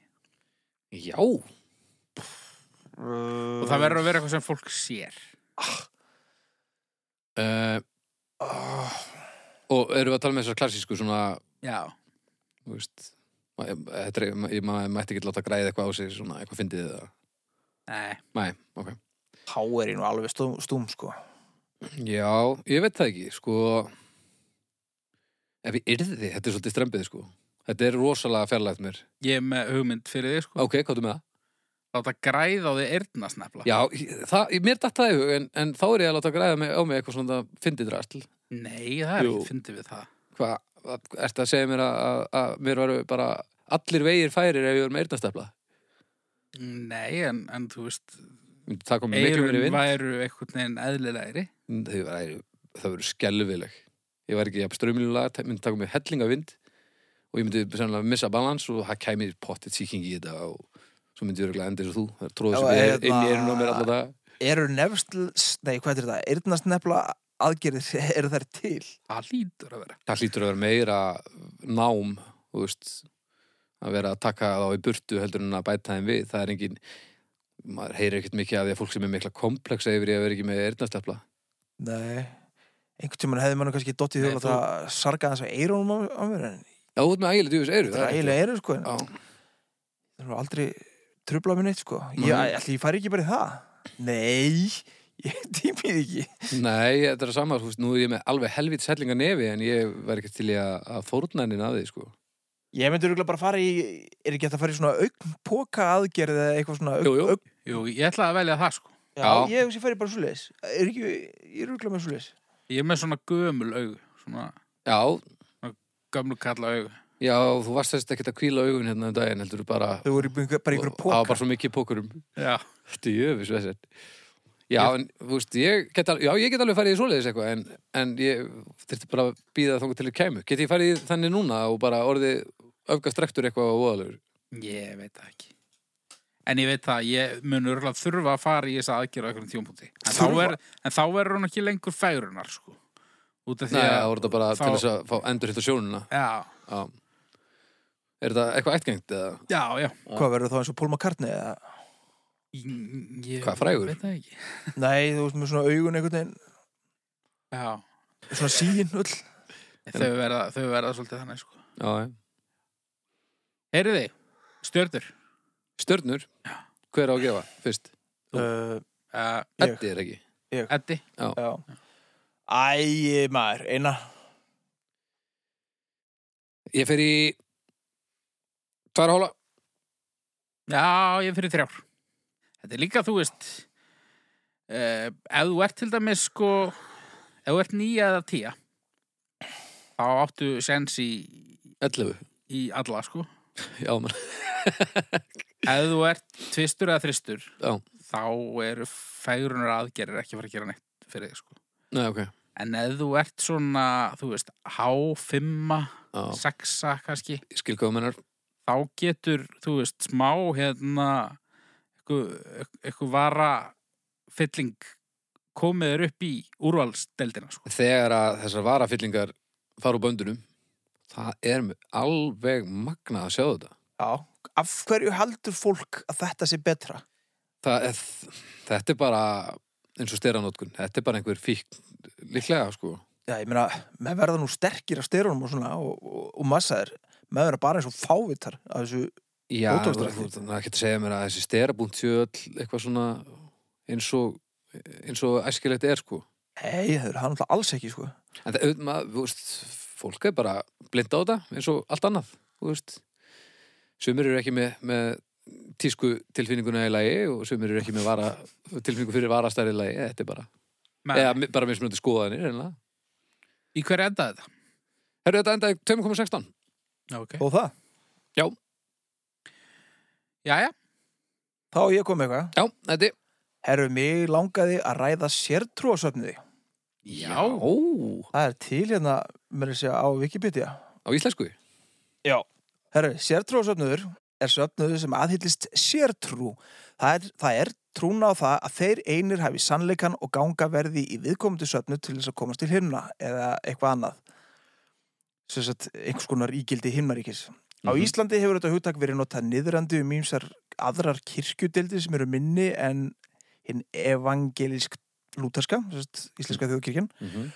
Speaker 2: já.
Speaker 1: Og það verður að vera eitthvað sem fólk sér.
Speaker 2: Uh,
Speaker 3: oh,
Speaker 2: og erum við að tala með þessar klassísku svona
Speaker 1: Já.
Speaker 2: þú veist, ma- ég- þetta er, ma- ég ma- mætti ekki láta græða eitthvað á sig svona eitthvað fyndið það
Speaker 1: Nei.
Speaker 2: Nei, ok.
Speaker 3: þá er ég nú alveg stúm, stúm sko
Speaker 2: Já, ég veit það ekki, sko ef ég yrði, þetta er svolítið strempið, sko þetta er rosalega fjarlægt mér
Speaker 1: Ég er með hugmynd fyrir því, sko.
Speaker 2: ok, hvað er með það?
Speaker 1: Láta græða á því eyrnasnefla.
Speaker 2: Já, ég- það, mér datt það í hug en, en þá er ég að láta græða mig, á mig eitthvað svona fyndið drastl.
Speaker 1: Nei, það er
Speaker 2: Jú.
Speaker 1: ekki fyndið við það.
Speaker 2: Hvað, að- ertu að segja mér að, að, að mér varu bara allir vegir færir ef ég var með eyrnastefla?
Speaker 1: Nei, en, en þú veist,
Speaker 2: Það kom mér miklu mér í
Speaker 1: eirun
Speaker 2: vind.
Speaker 1: væru einhvern veginn eðlilegri.
Speaker 2: Þau væru, það voru skelvileg. ég væri ekki jafn strömlulega, myndi taka mig hellinga vind og ég myndi sannlega missa balans og það kæmi pottet sýking í þetta og svo myndi ég örgulega enda eins og þú það tróði
Speaker 3: Já,
Speaker 2: sem ég
Speaker 3: hérna-
Speaker 2: inn í einu á mér alltaf það
Speaker 3: Eru nefnsl, nei hvað er þetta, eyrnast nefla aðgerðir, eru þær til?
Speaker 1: Það lítur að vera.
Speaker 2: það hlýtur að vera meira nám þú veist, að vera að taka þá í burtu heldur en að bæta þeim við það er engin, maður heyrir ekkert mikið af því að fólk sem er mikla kompleksa yfir í að vera ekki með erðnastefla
Speaker 3: Nei, einhvern tímann hefði mann kannski dottið í
Speaker 2: Nei,
Speaker 3: hug að það sargaði þess að eyrunum á, á mér en
Speaker 2: Já, þú ert með ægilega djúfis eyru
Speaker 3: þetta er eiginlega eyru sko, en
Speaker 2: Já,
Speaker 3: það var aldrei trubla mér neitt sko. Ég,
Speaker 2: Nei.
Speaker 3: ætli, ég fari ekki bara í það. Nei, ég tímið ekki.
Speaker 2: Nei, þetta er að sama, þú veist, nú er ég með alveg helvít sellinga nefi en ég væri ekki til í að, að fórna henni að því, sko.
Speaker 3: Ég myndi örugglega bara fara í, er ekki hægt að fara í svona augnpoka aðgerð eða eitthvað svona augn,
Speaker 2: Jú, jú.
Speaker 3: Augn,
Speaker 1: Jú, ég ætla að velja það, sko.
Speaker 3: já,
Speaker 2: Já.
Speaker 3: ég hugsa ég fari bara svoleiðis. Er ekki, ég er örugglega með svoleiðis.
Speaker 1: Ég er með svona gömul augu, svona
Speaker 2: Já,
Speaker 1: gömlu kalla augu.
Speaker 2: já, þú varst þess ekki að kvíla augun hérna um daginn, heldur þú bara...
Speaker 3: Þau voru í bara í einhverju
Speaker 2: Það var
Speaker 3: poka.
Speaker 2: bara svo mikið pókurum.
Speaker 1: Já.
Speaker 2: Þetta er jöfis, veist þetta. Já, en, þú veist, ég get alveg, já, ég get alveg farið í svoleiðis eitthvað, en, en ég þurfti bara að býða þangað til þér kæmu. Get ég farið í þannig núna og bara orðið öfgastrektur eitthvað og voðalegur?
Speaker 1: Ég veit það ekki. En ég veit það, ég mun örgulega þurfa að fara í þess aðgerð á einhverjum tjónbúti. En, þá
Speaker 3: Þurfa?
Speaker 1: er- en þá verður hún ekki lengur færunar, sko. Út af
Speaker 2: Nei,
Speaker 1: því
Speaker 2: það voru þetta bara
Speaker 1: þá-
Speaker 2: til þess að fá endur hitt á sjónuna.
Speaker 1: Já,
Speaker 2: Já. Er þetta eitthvað ættgengt eða?
Speaker 1: já, já.
Speaker 3: Hvað verður þá eins og Paul McCartney eða?
Speaker 1: Ég- Ég,
Speaker 2: Hvað, frægur?
Speaker 1: Veit það ekki.
Speaker 3: Nei, þú veist með svona augun einhvern veginn,
Speaker 1: Já.
Speaker 3: svona síin öll.
Speaker 1: Þau verða, þau verða svolítið þannig, sko.
Speaker 2: Já, já.
Speaker 1: Heyriði, stjörnur.
Speaker 2: Stjörnur? Hver á að gefa fyrst? Þú.
Speaker 3: Uh,
Speaker 1: Uh,
Speaker 3: Ég.
Speaker 2: Eddi er ekki.
Speaker 1: Eddi,
Speaker 3: já. Æ, maður, eina.
Speaker 2: Ég fer í tvara hóla.
Speaker 1: já, ég er fyrir þrjár. Þetta er líka, þú veist, uh, ef þú ert til dæmis, sko, ef þú ert nýja eða tíja, þá áttu sens í,
Speaker 2: 11.
Speaker 1: í alla, sko.
Speaker 2: Já, mann.
Speaker 1: Ef þú ert tvistur eða þristur,
Speaker 2: Já.
Speaker 1: þá eru færunar aðgerir ekki að fara að gera neitt fyrir þig, sko.
Speaker 2: Nei, ok.
Speaker 1: En ef þú ert svona, þú veist, H5,
Speaker 2: Já,
Speaker 1: 6 kannski,
Speaker 2: ég skil hvað þú mennar.
Speaker 1: þá getur, þú veist, smá hérna, eitthvað eitthvað vara fylling komið þér upp í úrvalsdeldina, sko.
Speaker 2: Þegar að þessar varafyllingar fara úr böndunum, það er með alveg magnað að sjá þetta.
Speaker 3: Já. Af hverju heldur fólk að þetta sé betra?
Speaker 2: Það er, þetta er bara eins og styranótkun. Þetta er bara einhver fíkn líklega, sko.
Speaker 3: Já, ég meina, með verða nú sterkir af styrunum og svona og, og, og massaðir, með verða bara eins og fávitar af þessu,
Speaker 2: Já, þú
Speaker 3: Ótrúlegt.
Speaker 2: þú- það getur að segja mér að þessi styrabúnt séu öll eitthvað svona eins og, eins og æskilegt er, sko.
Speaker 3: hei, það er hann alltaf alls ekki, sko.
Speaker 2: En það, auðvitað, maður, þú veist, fólk er bara blind á þetta eins og allt annað, þú veist. Sumir eru ekki með, með tísku tilfinninguna í lagi og sumir eru ekki með vara, tilfinningu fyrir varastæri í lagi, þetta er bara.
Speaker 1: Men,
Speaker 2: Eða mi- bara mismunandi skoðanir, einlega.
Speaker 1: Í hverju endaði þetta?
Speaker 2: Herru, þetta endaði 2.16.
Speaker 1: Okay.
Speaker 3: Og það,
Speaker 1: Jæja,
Speaker 3: þá á ég kom með eitthvað.
Speaker 2: Já, þetta er.
Speaker 3: Herru, mig langaði að ræða sértrúasöfniði.
Speaker 1: Já.
Speaker 2: Á
Speaker 3: Það er til hérna, mér er að segja, á Wikipedia.
Speaker 2: íslensku.
Speaker 3: Já. Herru, sértrúasöfnuður er söfnuður sem aðhyllist sértrú. Það er, það er trúna á það að þeir einir hafi sannleikan og ganga verði í viðkomandi söfnu til þess að komast til himna eða eitthvað annað. Sem sagt, einhvers konar ígildi himnaríkis. Á
Speaker 2: Mhm.
Speaker 3: Íslandi hefur þetta hugtak verið notað niðrandi um ímsar aðrar kirkjudildir sem eru minni en hinn evangelisk lúterska, sem sagt, íslenska þjóðkirkjan
Speaker 2: Mhm.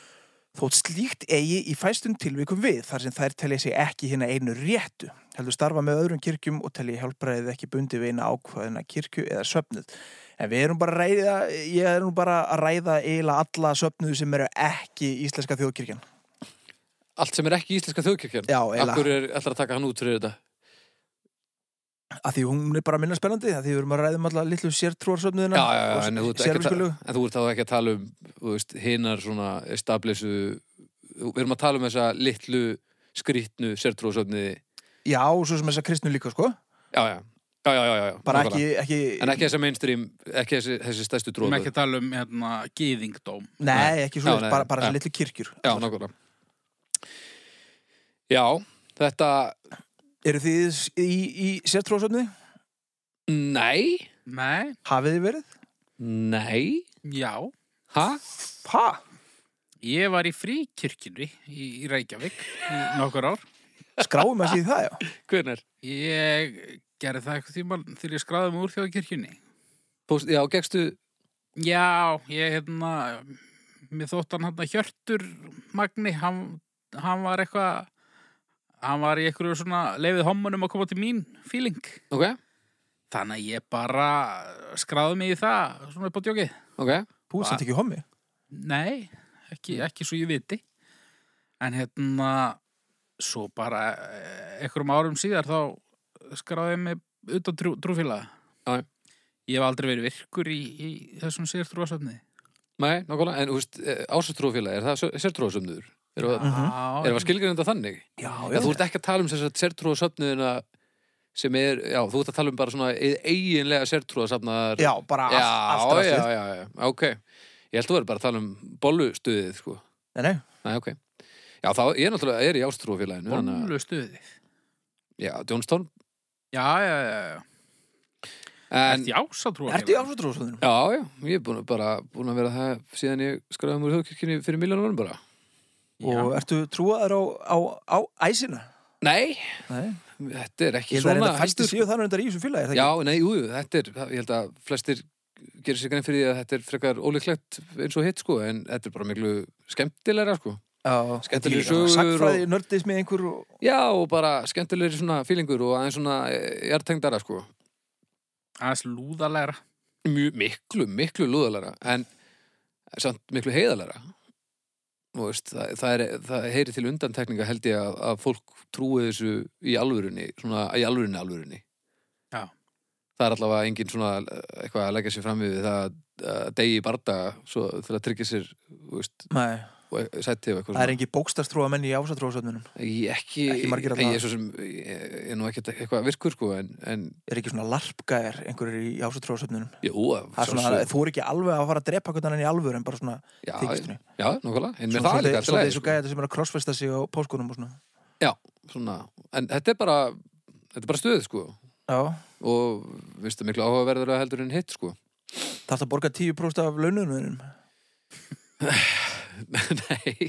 Speaker 3: þótt slíkt eigi í fæstum tilvikum við þar sem þær telja sig ekki hérna einu réttu heldur starfa með öðrum kirkjum og telja hjálpræðið ekki bundi við eina ákvaðina kirkju eða söfnuð en við erum bara að ræða ég er nú bara að ræða eiginlega alla söfnuðu sem eru ekki íslenska þjóðkirkjan
Speaker 2: Allt sem er ekki íslenska þjóðkirkjan.
Speaker 3: já,
Speaker 2: Akkur
Speaker 3: eiginlega,
Speaker 2: er ætlar að taka hann út fyrir þetta.
Speaker 3: að því hún er bara minna spennandi að því við erum að ræða um alla litlu
Speaker 2: Já,
Speaker 3: sértrúarsöfnuðina
Speaker 2: já, já, en þú ert
Speaker 3: og
Speaker 2: ekki að
Speaker 3: sérfélskulegu
Speaker 2: ta- en þú ert þá ekki að tala um, þú veist, hinnar svona establishu, við erum að tala um þessa litlu skrýtnu sértrúasöfniði.
Speaker 3: já, svo sem þessa kristnu líka sko
Speaker 2: Já, já, já, já, já, já.
Speaker 3: bara
Speaker 2: nákvæmlega.
Speaker 3: ekki, ekki,
Speaker 2: En ekki þessa mainstream, ekki þessi, þessi stærstu
Speaker 1: við erum
Speaker 2: tróðu.
Speaker 1: ekki að tala um hérna, gýðingdóm.
Speaker 3: nei, ekki svo
Speaker 2: Já, nei,
Speaker 3: bara, bara
Speaker 2: já.
Speaker 3: þessi litlu kirkjur
Speaker 2: Já, nákvæmlega. Já, þetta,
Speaker 3: Eru þið í, í sértrúasöfni?
Speaker 2: nei,
Speaker 1: Nei,
Speaker 3: Hafið þið verið?
Speaker 2: nei,
Speaker 1: já.
Speaker 2: ha?
Speaker 3: Ha?
Speaker 1: Ég var í fríkirkjunni í, í Reykjavík í nokkur ár.
Speaker 3: Skráum að síði það, já.
Speaker 2: Hvernig?
Speaker 1: Ég gerði það eitthvað tíma þegar ég skráði mig úr þjóðkirkjunni.
Speaker 2: Póst, já, gegstu,
Speaker 1: Já, ég hérna, mér þótt hann hérna Hjörtur Magni, hann, hann var eitthvað, hann var í eitthvað svona leifið homunum að koma til mín feeling.
Speaker 2: ok,
Speaker 1: Þannig að ég bara skráði mig í það, svona upp á djókið.
Speaker 2: ok,
Speaker 3: Þú ert samt ekki hommi.
Speaker 1: Nei, ekki, ekki svo ég viti. En hérna, svo bara eh, einhverjum árum síðar þá skráði ég mig utan trú, trúfélaga.
Speaker 2: Já, já.
Speaker 1: Ég hef aldrei verið virkur í, í þessum sér trúasöfni.
Speaker 2: nei, nákvæmlega, en þú veist, ásastrófélag, er það sértróðsöfnur? Er það,
Speaker 1: Já,
Speaker 2: Mhm. er það skilgreinda þannig?
Speaker 3: Já,
Speaker 2: Já, þú ert ekki að tala um þess að sértrúa sem er, já, þú ert að tala um bara svona e- eiginlega sértrúa safnaðar
Speaker 3: Já, bara
Speaker 2: já,
Speaker 3: allt, allt
Speaker 2: já,
Speaker 3: ræðslið.
Speaker 2: já, já, ok Ég held að vera bara að tala um bollustuðið, sko
Speaker 3: Nei, nei.
Speaker 2: Nei, ok Já, þá, ég náttúrulega er í ástrúafélaginu þannig að-
Speaker 1: Bólu stuði.
Speaker 2: Já, Johnstone
Speaker 1: Já, já, já, já.
Speaker 2: en,
Speaker 1: Ertu í ásatrúafélag?
Speaker 3: Ertu í ásvöldrúasöfninu?
Speaker 2: Já, já, ég er búin að bara búin að vera það síðan ég skraðum úr þjóðkirkjunni fyrir miljónum varum bara
Speaker 3: Og ertu trúaður á, á, á æsina?
Speaker 2: Nei,
Speaker 3: Nei.
Speaker 2: þetta er ekki
Speaker 3: Ég held að
Speaker 2: svona
Speaker 3: þetta fæstu
Speaker 2: heldur,
Speaker 3: síðu þannig reyndar í þessu fylagi, er það
Speaker 2: Já,
Speaker 3: ekki?
Speaker 2: nei, jú, þetta er, ég held að flestir gerir sér grein fyrir því að þetta er frekar ólíklegt eins og hitt, sko, en þetta er bara miklu skemmtilegra, sko.
Speaker 3: Já,
Speaker 2: skemmtilegir
Speaker 3: þetta er líka
Speaker 2: sögur
Speaker 3: Sagnfræði, og... nördismi einhver og...
Speaker 2: Já, og bara skemmtilegri svona fílingur og aðeins svona jartengdara, sko.
Speaker 1: Aðeins lúðalegra.
Speaker 2: Mjög, miklu, miklu lúðalara, en samt miklu heiðalara. Nú veist, það, það, er, það heyri til undantekninga held ég að, að fólk trúi þessu í alvörunni, svona í alvörunni, alvörunni.
Speaker 1: Já.
Speaker 2: Það er allavega engin svona eh, eitthvað að leggja sér fram við það að- að degi í barda svo, til að tryggja sér, þú veist,
Speaker 3: Nei,
Speaker 2: og- sæti og eitthvað
Speaker 3: það er
Speaker 2: svona.
Speaker 3: engin bókstafstrúa menn í ásvöldrúasöfninu.
Speaker 2: Ég ekki,
Speaker 3: ekki
Speaker 2: ég,
Speaker 3: margir allavega.
Speaker 2: er svo sem ég, ég er nú ekki eitthvað virkur sko en, en
Speaker 3: Er ekki svona larpgæjar einhverjir í ásvöldrúasöfninu?
Speaker 2: jú, að
Speaker 3: Það er svona,
Speaker 2: sjálfsögðu.
Speaker 3: þú er ekki alveg að fara að drepa hvernig annan í alvöru en bara svona
Speaker 2: já,
Speaker 3: þykistunni.
Speaker 2: já, nákvæmlega, en með
Speaker 3: Svona
Speaker 2: það er líka
Speaker 3: svolítið-
Speaker 2: alltaf
Speaker 3: svolítið
Speaker 2: leið
Speaker 3: þessu
Speaker 2: sko.
Speaker 3: gæja sem er að crossfesta sig á póskunum og svona.
Speaker 2: svona, en þetta er bara þetta er bara stuð sko
Speaker 3: Já,
Speaker 2: og viðstu miklu áhugaverður að heldur en hitt sko
Speaker 3: þarfst að borga 10% af laununum.
Speaker 2: nei,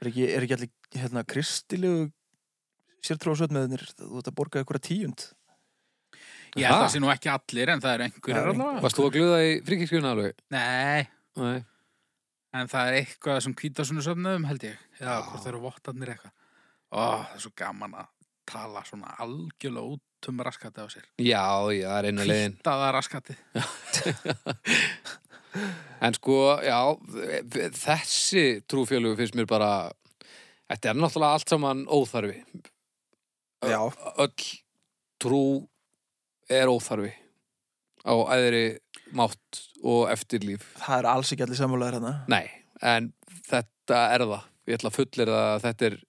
Speaker 3: Er ekki, er ekki allir hérna kristilegu sértrúasöfnöðinir, þú ert að borga einhverja tíund.
Speaker 1: Ég held að
Speaker 2: Ha?
Speaker 1: það sé nú ekki allir, en það eru
Speaker 3: Það
Speaker 1: einhverjir
Speaker 3: eru
Speaker 1: allavega.
Speaker 2: varst þú að gluða í fríkirkjuna alveg?
Speaker 1: Nei,
Speaker 2: Nei,
Speaker 1: en það er eitthvað sem kvítasunni söfnum, held ég. Já,
Speaker 2: Já.
Speaker 1: hvort það eru vottarnir eitthvað. Ó, það er svo gaman að tala svona algjörlega út um raskatið á sér.
Speaker 2: já, já, það er eina leiðin
Speaker 1: Kvítaða raskatið.
Speaker 2: En sko, já, þessi trúfjölugu finnst mér bara, þetta er náttúrulega allt saman óþarfi. Ö-
Speaker 3: Já.
Speaker 2: Öll trú er óþarfi á æðri mátt og eftirlíf.
Speaker 3: Það er alls ekki allir sammálaður hérna.
Speaker 2: Nei, en þetta er það. Ég ætla að fullir það að þetta er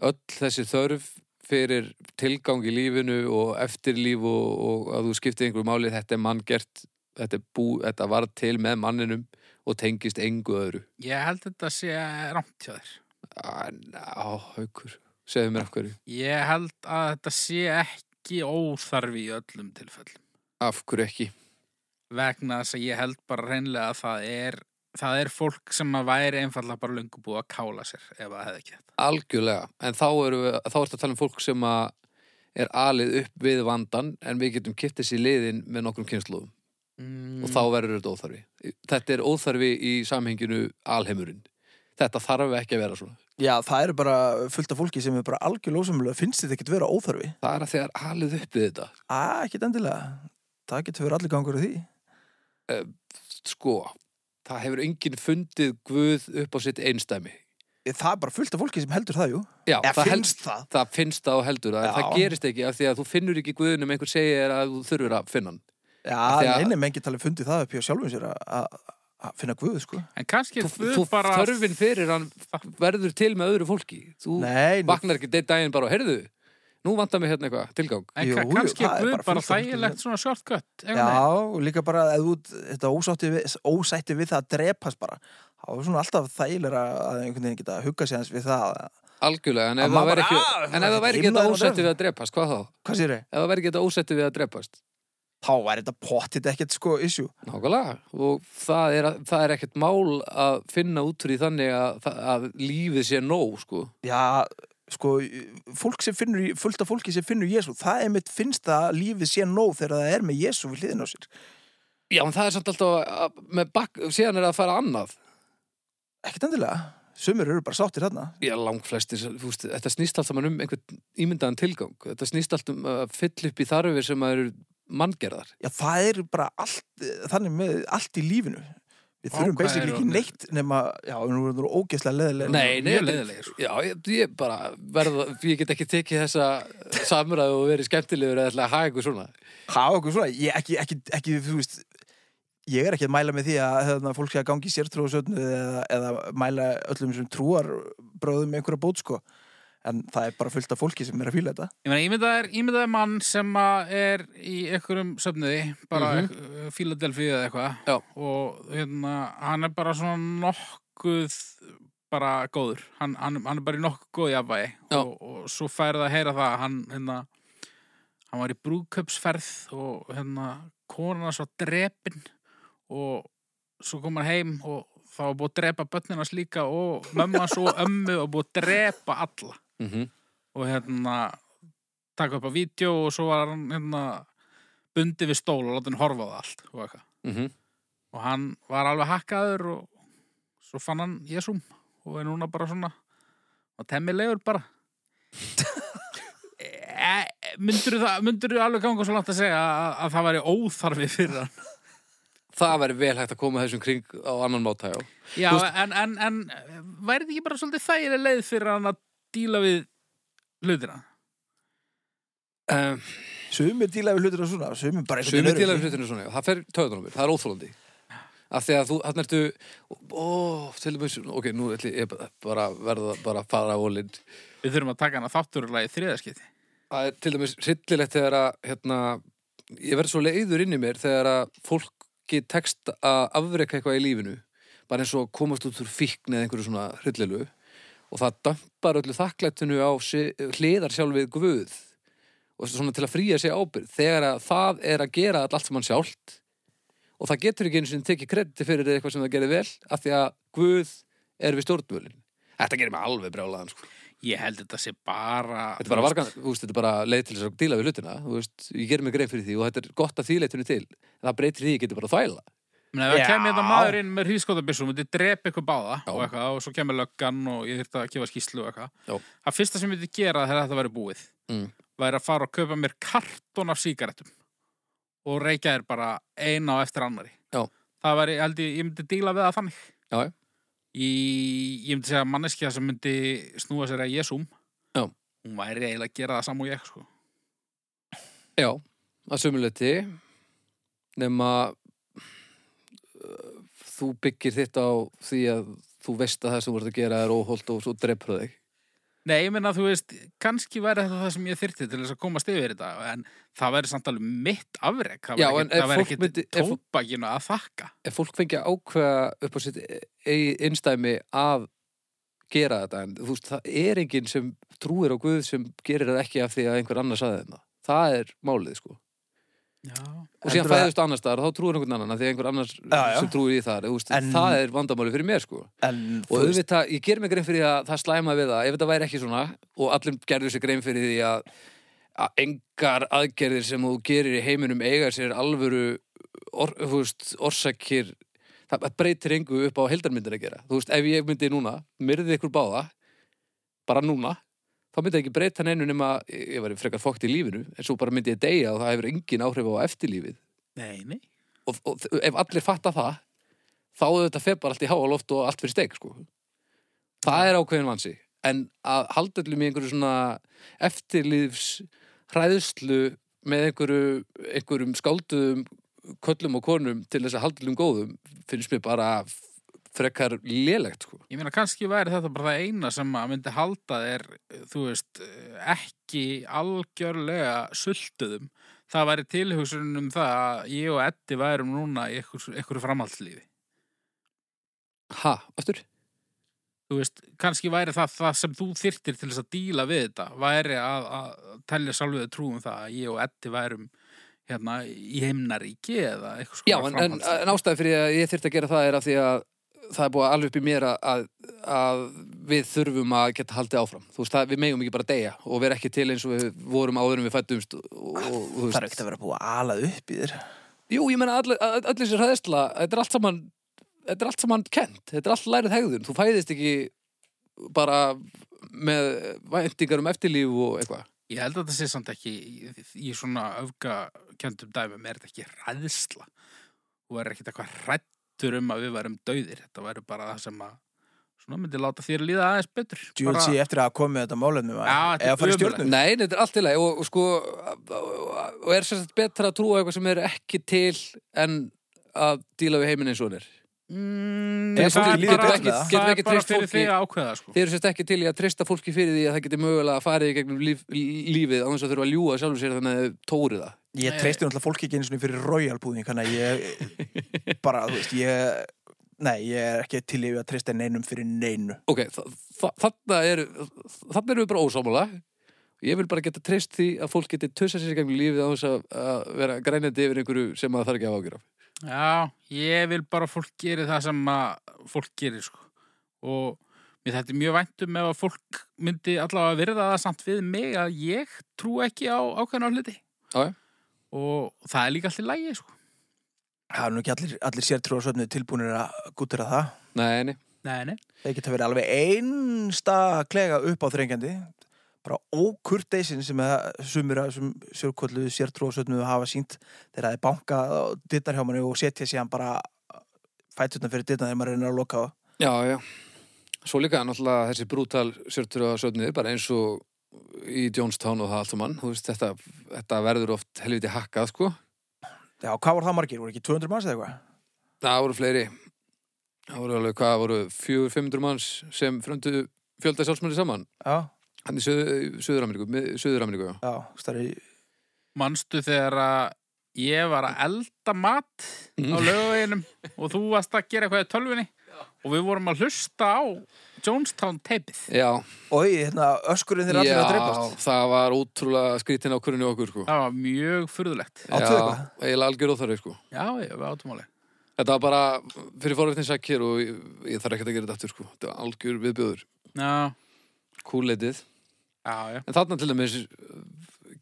Speaker 2: öll þessi þörf fyrir tilgang í lífinu og eftirlíf og, og að þú skiptir einhverju máli, þetta er manngert, þetta, er bú, þetta var til með manninum og tengist engu öðru.
Speaker 1: Ég held þetta sé rámt hjá þér.
Speaker 2: Á, á haukur, segðu mér af hverju.
Speaker 1: Ég held að þetta sé ekki óþarfi í öllum tilfellum.
Speaker 2: Af hverju ekki?
Speaker 1: vegna þess að ég held bara reynlega að það er, það er fólk sem að væri einfallega bara löngu búið að kála sér ef það hefði ekki þetta.
Speaker 2: Algjörlega, en þá eru við, þá ertu að tala um fólk sem að er alið upp við vandan en við getum kipt þessi liðin með nokkrum kynsluðum.
Speaker 1: Mm,
Speaker 2: og þá verður þetta óþarfi. Þetta er óþarfi í samhenginu alheimurinn. Þetta þarf ekki að vera svona.
Speaker 3: Já, það eru bara fullt af fólki sem er bara algjörlega ósamlega, finnst þetta ekkert vera óþarfi?
Speaker 2: Það er að þegar alið upp við þetta.
Speaker 3: Æ, ekkert endilega. Það getur verið allir gangur í því.
Speaker 2: Sko, það hefur enginn fundið guð upp á sitt einstæmi.
Speaker 3: Það er bara fullt af fólki sem heldur það, jú.
Speaker 2: Já,
Speaker 3: Eða
Speaker 2: það, held,
Speaker 3: finnst það.
Speaker 2: það finnst það og heldur það. en
Speaker 3: Já.
Speaker 2: Það gerist ekki af því að þú finnur ekki guðunum einhver segir að þú þurfur að finna hann. Af því
Speaker 3: Já,
Speaker 2: að-
Speaker 3: neina, menn getur alveg fundið það upp hjá sjálfum sér að- að að finna guðu, sko.
Speaker 1: en kannski
Speaker 2: Þú,
Speaker 1: þú,
Speaker 2: þú
Speaker 1: bara...
Speaker 2: þörfin fyrir hann verður til með öðru fólki. Þú
Speaker 3: Nei, nú-
Speaker 2: vaknar ekki deitt daginn bara og heyrðu, nú vantar mig hérna eitthvað, tilgang.
Speaker 1: En
Speaker 3: Jú,
Speaker 1: jú,
Speaker 3: jú,
Speaker 1: kannski
Speaker 3: það er
Speaker 1: er Guð
Speaker 3: bara
Speaker 1: bara,
Speaker 3: fullt af fólki
Speaker 1: þægilegt svona shortcut.
Speaker 3: já, og líka bara að þú, þetta ósátti við, ósætti við það að drepast bara. Það er svona alltaf þægilega að einhvern veginn geta að hugga sér hans við það að
Speaker 2: algjörlega, en
Speaker 3: Að
Speaker 2: ef
Speaker 3: maður
Speaker 2: það væri
Speaker 3: bara,
Speaker 2: ekki
Speaker 3: "Ah,
Speaker 2: en ef það væri ekki þetta
Speaker 3: himlaður og
Speaker 2: ósætti
Speaker 3: dröfn."
Speaker 2: við að drepast, hvað þá?
Speaker 3: Hvað sér þið?
Speaker 2: Ef það væri ekki þetta ósætti við að drepast
Speaker 3: Þá væri þetta pottit ekkert sko issue.
Speaker 2: Nákvæmlega, og það er, það er ekkert mál að finna út úr í þannig að, að lífið sé nóg, sko
Speaker 3: Já, sko, fólk sem finnur, í- fullt af fólki sem finnur Jésu, það er mitt finnst að lífið sé nóg þegar það er með Jésu við hliðin á sér.
Speaker 2: Já, en það er samt alltaf að, með bak, síðan er að fara annað
Speaker 3: Ekkert endilega. Sumir eru bara sáttir þarna.
Speaker 2: Já, langflestir, þú veist, þetta snýst allt saman um einhvern ímyndaðan tilgang Þetta snýst allt um að fylla upp í þarfir sem að eru manngerðar
Speaker 3: Já, það er bara allt, þannig með allt í lífinu. Við
Speaker 1: Vá,
Speaker 3: þurfum
Speaker 1: hvað
Speaker 3: basically
Speaker 1: eru
Speaker 3: ekki
Speaker 1: orðnir-
Speaker 3: neitt nema, já, nú erum við ógeðslega leðilega.
Speaker 2: Nei, nei,
Speaker 1: mjög leiðilegir, sko.
Speaker 2: Já, ég, ég bara verða, ég get ekki tekið þessa samræðu og verið skemmtilegur eða ætla að hafa eitthvað svona
Speaker 3: Há, okkur svona, ég ekki, ekki, ekki, þú veist, ég er ekki að mæla með því að hefna, fólk sé að gangi sértrúðsöfnu eða, eða mæla öllum sem trúar bróðum með einhverja bót, sko. En það er bara fullt af fólki sem er að fýla þetta.
Speaker 1: Ég meina, ímyndaðir, ímyndaðir mann sem að er í einhverjum söfniði, bara mm
Speaker 2: Mhm.
Speaker 1: -hmm. Philadelphia eða eitthvað.
Speaker 2: Já.
Speaker 1: Og hérna, hann er bara svona nokkuð bara góður. Hann, hann, hann er bara í nokkuð góð jafnvægi.
Speaker 2: Já.
Speaker 1: Og, og svo færið að heyra það, að hann, hérna, hann var í brúköpsferð og hérna, konan hans var drepin og svo kom hann heim og það var búið að drepa börninans líka og mömmu hans og ömmu og búið að drepa alla
Speaker 2: mm
Speaker 1: Mhm,
Speaker 2: -hmm.
Speaker 1: og hérna taka upp á vídeo og svo var hann hérna bundið við stól og láta hann horfa á það allt og, eitthvað. og hann var alveg hakkaður og svo fann hann Jésum og er núna bara svona og temmilegur bara e, myndur það myndur alveg ganga svo langt að segja að, að það væri óþarfi fyrir hann
Speaker 2: Það væri vel hægt að koma þessum kring á annan máta, já
Speaker 1: Já,
Speaker 2: Þú
Speaker 1: en, en, en væri þetta ekki bara svolítið þægileg leið fyrir hann að díla við hlutina?
Speaker 2: um,
Speaker 3: Sumir díla við hlutina svona, sumir bara einhvern
Speaker 2: Sumir
Speaker 3: veginn
Speaker 2: dílar
Speaker 3: öðruvísi.
Speaker 2: hlutinu svona, já, það fer töðunum mér, það er óþólandi Af því að þú, hann ertu Ó, til dæmis, ok, nú ætli ég bara- bara að verða bara að fara á ólind
Speaker 1: Við þurfum að taka hann að þátturlega í þriðaskipti.
Speaker 2: Það er til dæmis hryllilegt þegar að hérna, ég verð svo leiður inn í mér þegar að fólki tekst að afreka eitthvað í lífinu bara eins og að komast út úr fíkn eða einhverju svona hryllilu og það dampar öllu þakklættinu á si- hliðar sjálf við guð og svona til að fríja sig ábyrgð þegar að það er að gera allt sem hann sjálft og það getur ekki einu sinni tekið krediti fyrir eitthvað sem það gerir vel af því að guð er við stjórnvölin Þetta gerir mig alveg brjálaðan sko
Speaker 1: Ég held þetta sé bara...
Speaker 2: Þetta er bara, vargan, þú veist, þetta er bara leið til þess að díla við hlutina, þú veist, ég gerir mig grein fyrir því og þetta er gott að því leitunni til, en það breytir því ég geti bara að þvæla.
Speaker 1: Menni, ef
Speaker 3: Já.
Speaker 1: það kemur þetta maður inn með hríðskotabissum og þetta drepa ykkur báða
Speaker 2: Já.
Speaker 1: og eitthvað og svo kemur löggan og ég þyrfti að gefa skýslu og
Speaker 2: Já.
Speaker 1: eitthvað. Það fyrsta sem ég myndi gera þegar þetta væri búið
Speaker 2: Mm.
Speaker 1: væri að fara og kaupa mér kartón af sígarettum og reykja þér bara eina á eftir annari.
Speaker 2: Já.
Speaker 1: Það væri, ég held ég, ég myndi díla við það þannig.
Speaker 2: Já, já.
Speaker 1: Í, ég myndi segja að manneskja sem myndi snúa sér að jesum
Speaker 2: Já.
Speaker 1: hún væri eiginlega að gera það saman og ég sko.
Speaker 2: Já, að sömuleyti, nema uh, þú byggir þitt á því að þú veist að það sem þú ert að gera er óholt og svo dreipur þig.
Speaker 1: Nei, ég meina, þú veist, kannski væri þetta það sem ég þyrfti til þess að komast yfir þetta en það væri samt alveg mitt afrek það
Speaker 2: Já,
Speaker 1: væri
Speaker 2: en
Speaker 1: ekkit,
Speaker 2: ef
Speaker 1: það væri
Speaker 2: fólk
Speaker 1: ekkit
Speaker 2: myndi- ef fólk-
Speaker 1: tóbakinu að þakka
Speaker 2: Ef fólk fengi að ákveða upp á sitt eigi innstæmi að gera þetta, en þú veist, það er enginn sem trúir á Guð sem gerir það ekki af því að einhver annar saði þetta. Það er málið, sko.
Speaker 1: Já,
Speaker 2: og síðan
Speaker 3: Heldurðu að-
Speaker 2: fæðist annars staðar og þá trúir einhvern annan af því að einhver annars
Speaker 3: já.
Speaker 2: sem trúir í það veist,
Speaker 3: En-
Speaker 2: það er vandamáli fyrir mér sko
Speaker 3: En
Speaker 2: og
Speaker 3: þú veist,
Speaker 2: auðvitað, ég ger mig grein fyrir því að það slæma við það ef þetta væri ekki svona og allir gerðu sér grein fyrir því að, að engar aðgerðir sem þú gerir í heiminum eiga sér alvöru or, þú veist, orsakir það það breytir engu upp á heldarmyndin að gera þú veist, ef ég myndi núna, myrði ykkur báða bara núna þá myndi það ekki breyta neinu nema ég ég væri frekar fókt í lífinu, en svo bara myndi ég deyja og það hefur engin áhrif á eftirlífið
Speaker 1: nei, nei
Speaker 2: og, og þ- ef allir fatta það þá auðvitað fer bara allt í háa loft og allt fyrir steik sko. það er ákveðin vansi en að halda öllum í einhverju svona eftirlífs hræðslu með einhverju, einhverjum skálduðum köllum og konum til þess að halda öllum góðum finnst mér bara f- frekar lélegt sko.
Speaker 1: Ég meina, kannski væri þetta bara það eina sem að myndi halda þér, þú veist, ekki algjörlega sultuðum. Það væri tilhugsunum um það að ég og Eddi værum núna í einhver- einhverju framhaldslífi.
Speaker 2: ha, aftur?
Speaker 1: þú veist, kannski væri það, það sem þú þyrtir til þess að díla við þetta væri að, að telja sjálfuðu trú um það að ég og Eddi værum hérna í heimnaríki eða eitthvað
Speaker 2: Já, en, en, en ástæði fyrir að ég þyrfti að gera það er af því að það er búið að alveg upp í mér að, að, að við þurfum að geta haldið áfram. Þú veist, það, við megum ekki bara deyja og vera ekki til eins og við vorum áður en við fættumst og, og, og þú
Speaker 3: Ah, Það er ekkert að vera búið að alað upp í þér
Speaker 2: Jú, ég menna allir all, all þessi hræðisla, þetta er allt saman þetta er allt saman kent, þetta er allt lærið hegðun þú fæðist ekki bara með væntingar um eftirlíf og eitthvað
Speaker 1: Ég held að þetta sé samt ekki í, í svona öfgakjöndum dæmum er þetta ekki ræðsla þú verður ekkit eitthvað rættur um að við værum dauðir þetta væri bara það sem að svona myndi láta þér líða aðeins betur
Speaker 3: Djúl sé eftir að koma með þetta málefnum að-
Speaker 1: Já, þetta
Speaker 3: eða
Speaker 1: er
Speaker 3: fara í
Speaker 1: ömurlegt.
Speaker 3: stjórnum
Speaker 2: Nei, þetta er allt í lagi og, og sko og er sérst betra að trúa á eitthvað sem er ekki til en að díla við heiminn eins og hann er
Speaker 1: mm,
Speaker 3: Ef
Speaker 1: það
Speaker 3: fólki
Speaker 1: er
Speaker 3: líður
Speaker 1: bara-
Speaker 3: betur með það.
Speaker 2: Getum
Speaker 1: það
Speaker 2: ekki
Speaker 1: er bara
Speaker 2: treyst
Speaker 1: fyrir
Speaker 2: fólki-
Speaker 1: þig að ákveða sko.
Speaker 2: Þið eru sérst ekki til í að treysta fólki fyrir því að það geti mögulega að fara í gegnum líf, lífið á þess að þurfa að ljúga sjálfur sér þannig að þau tóri það
Speaker 3: Ég treysti náttúrulega fólki ekki einu sinni fyrir royalbúðing Þannig að ég bara, þú veist, ég Nei, ég er ekki til í að treysta neinum fyrir neinu
Speaker 2: Ok, þa- þa- þarna er þarna erum við bara ósámála ég vil bara geta treyst því að fólk geti tussað sér í gangi lífið á þess að, að vera grænandi yfir einhverju sem það þarf ekki að hafa ágjur af
Speaker 1: Já, ég vil bara að fólk geri það sem að fólk gerir sko. og mér þetta er mjög væntum ef að fólk myndi allavega virða það samt við mig að ég trú ekki á ákveðna hluti
Speaker 2: Já, já.
Speaker 1: og það er líka allir lægi sko.
Speaker 3: Það er nú ekki allir, allir sér tróðsöfnu tilbúinir að gútera það
Speaker 2: Nei, nei,
Speaker 1: Nei, nei,
Speaker 3: Það geta verið alveg einsta klega upp á þrengjandi bara ókurteisin sem að sumir að sem sérkvöldu sértróðsöfnu hafa sínt þegar það er banka dittar hjá manni og setja síðan bara fætutna fyrir dittar þegar maður reynir að loka á
Speaker 2: já, já Svo líka náttúrulega þessi brútal sörtur og sörnir, bara eins og í Jonestown og það allt um hann veist, þetta, þetta verður oft helviti hakkað sko
Speaker 3: Já, hvað var það margir? Voru ekki 200 manns eða eitthvað?
Speaker 2: Það voru fleiri Það voru alveg hvað, það voru 400-500 manns sem fröndu fjölda sjálfsmyndir saman
Speaker 3: Já,
Speaker 2: hann í Suður- Suður-Ameríku mið- Suður-Ameríku, já
Speaker 3: já, starri
Speaker 1: manstu þegar að ég var að elda mat á lögaviginum og þú varst að gera eitthvað í tölvunni og við vorum að hlusta á Jonestown teipið
Speaker 2: Já,
Speaker 3: Ói, hérna, öskurinn þeir allir að dreipast
Speaker 2: það var ótrúlega skrítin ákvörðinu okkur sko.
Speaker 1: Það var mjög furðulegt
Speaker 3: Áttu
Speaker 2: Já,
Speaker 3: eitthvað?
Speaker 2: eiginlega algjör óþarri sko.
Speaker 1: Já, ég var átumáli
Speaker 2: Þetta var bara fyrir forréttin sækir og ég, ég þarf ekkert að gera þetta aftur sko. Þetta var algjör viðbjöður,
Speaker 1: Já,
Speaker 2: kúleitið
Speaker 1: já, já
Speaker 2: En þarna til dæmis uh,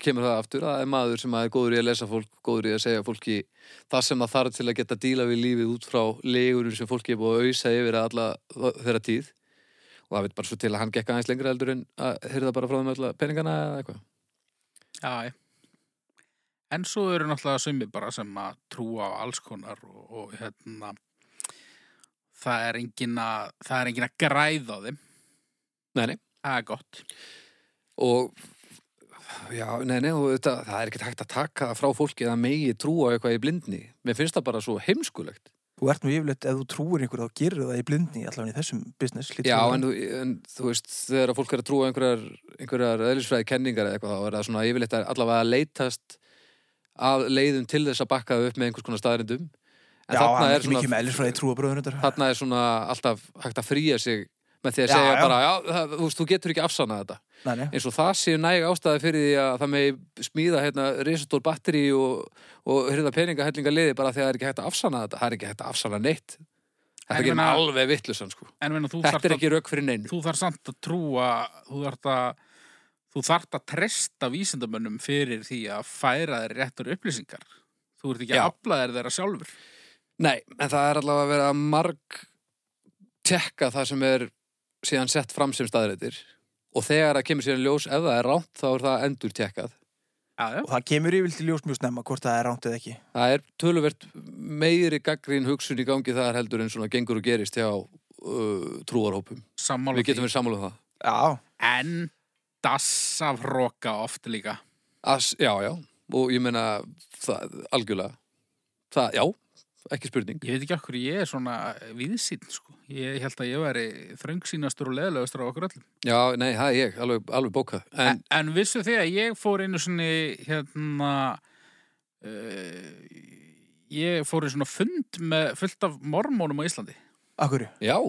Speaker 2: kemur það aftur að það er maður sem er góður í að lesa fólk góður í að segja fólki það sem það þarf til að geta díla við lífið út frá legurum sem fólki er búið að ausa yfir alla þeirra tíð og það veit bara svo til að hann gekk aðeins lengra eldur en að heyrða bara frá þeim alla peningana eða eitthvað
Speaker 1: Já, já. En svo eru náttúrulega sumi bara sem að trúa á alls konar og, og hérna það er engin að það er engin að græða á þeim
Speaker 2: Nei, nei
Speaker 1: það er gott
Speaker 2: og já, nei, nei, og þetta, það er ekkert hægt að taka það frá fólki að megi trúa á eitthvað í blindni mér finnst það bara svo heimskulegt
Speaker 3: Þú ert nú yfirleitt, ef þú trúir einhverju þá gerir það í blindni allavega í þessum business hlýtur
Speaker 2: já,
Speaker 3: þú-
Speaker 2: en, þú- en þú veist, þegar að fólk er að trúa á einhverjar, einhverjar eðlisfræði kenningar eða eitthvað, þá er það svona yfirleitt að allavega að leitast að leiðum til þess að bakka það upp með einhvers konar staðrindum en
Speaker 3: Já, hann
Speaker 2: þarna
Speaker 3: er
Speaker 2: er
Speaker 3: ekki mikið með
Speaker 2: svona,
Speaker 3: ellisfræði trúabröðun þetta
Speaker 2: þarna er svona alltaf hægt að fríja sig með því að
Speaker 3: Já,
Speaker 2: segja
Speaker 3: já.
Speaker 2: bara, já, það, þú veist, þú getur ekki afsanað þetta
Speaker 3: Nei, nei,
Speaker 2: eins og það séu næg ástæði fyrir því að það megi smíða hérna risastór batteri og, og hérna peningahellinga liði bara því að það er ekki hægt að afsanna þetta það er ekki hægt að afsanna neitt þetta
Speaker 1: En
Speaker 2: er ekki
Speaker 1: meina-
Speaker 2: alveg vittlusan sko
Speaker 1: En meina, þú,
Speaker 2: þetta
Speaker 1: þarft
Speaker 2: er
Speaker 1: að,
Speaker 2: ekki rauk fyrir neinu
Speaker 1: þú þarf samt að trúa þú þarf að þú þarf að treysta vísindamönnum fyrir því að færa þeir réttur upplýsingar þú ert ekki
Speaker 2: Já.
Speaker 1: að afla þeir þeirra sjálfur
Speaker 2: nei, en það er allavega að vera að marg tekka það sem er síðan sett fram sem staðreitir og þegar það kemur síðan í ljós ef það er ránt þá er það endur tekkað
Speaker 1: Já, já,
Speaker 3: og það kemur yfirleitt í ljós mjög snemma hvort það er rámt eða ekki
Speaker 2: það er töluvert meiri gaggrín hugsun í gangi þar heldur en svona gengur og gerist hjá uh, trúarhópum
Speaker 1: sammála
Speaker 2: við getum við sammála um það
Speaker 3: Já,
Speaker 1: En dass af roka oft líka
Speaker 2: As, já, já, og ég meina það, algjörlega það, já, ekki spurning
Speaker 1: Ég veit ekki okkur ég er svona viðsýn sko. Ég held að ég væri þröngsýnastur og leðlegastur á okkur öllum
Speaker 2: Já, nei, það er ég, alveg, alveg bókað
Speaker 1: En,
Speaker 2: en,
Speaker 1: en vissu því að ég fór einu svona hérna uh, ég fór í svona fund með fullt af mormónum á Íslandi
Speaker 3: af hverju?
Speaker 2: já,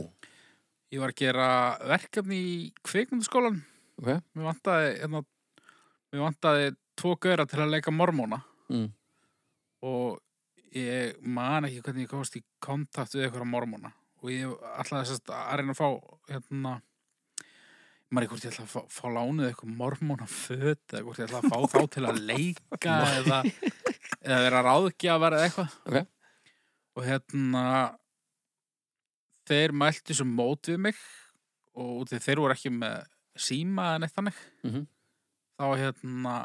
Speaker 1: Ég var að gera verkefni í kvikmyndaskólan.
Speaker 2: Ok.
Speaker 1: Mér vantaði, hérna, mér vantaði tvo gauðra til að leika mormóna
Speaker 2: Mm.
Speaker 1: og ég man ekki hvernig ég komst í kontakt við einhverja mormóna og ég ætlaði sérst að reyna að fá, hérna, ég maður ekki hvort ég ætlaði að fá, fá lánuð eitthvað mormóna föt eða hvort ég ætlaði að fá þá til að leika eða, eða vera ráðgjafar eða eitthvað.
Speaker 2: Ok.
Speaker 1: Og hérna, þeir mæltu sem mót við mig og út því þeir voru ekki með síma en eitt þannig
Speaker 2: Mhm.
Speaker 1: þá hérna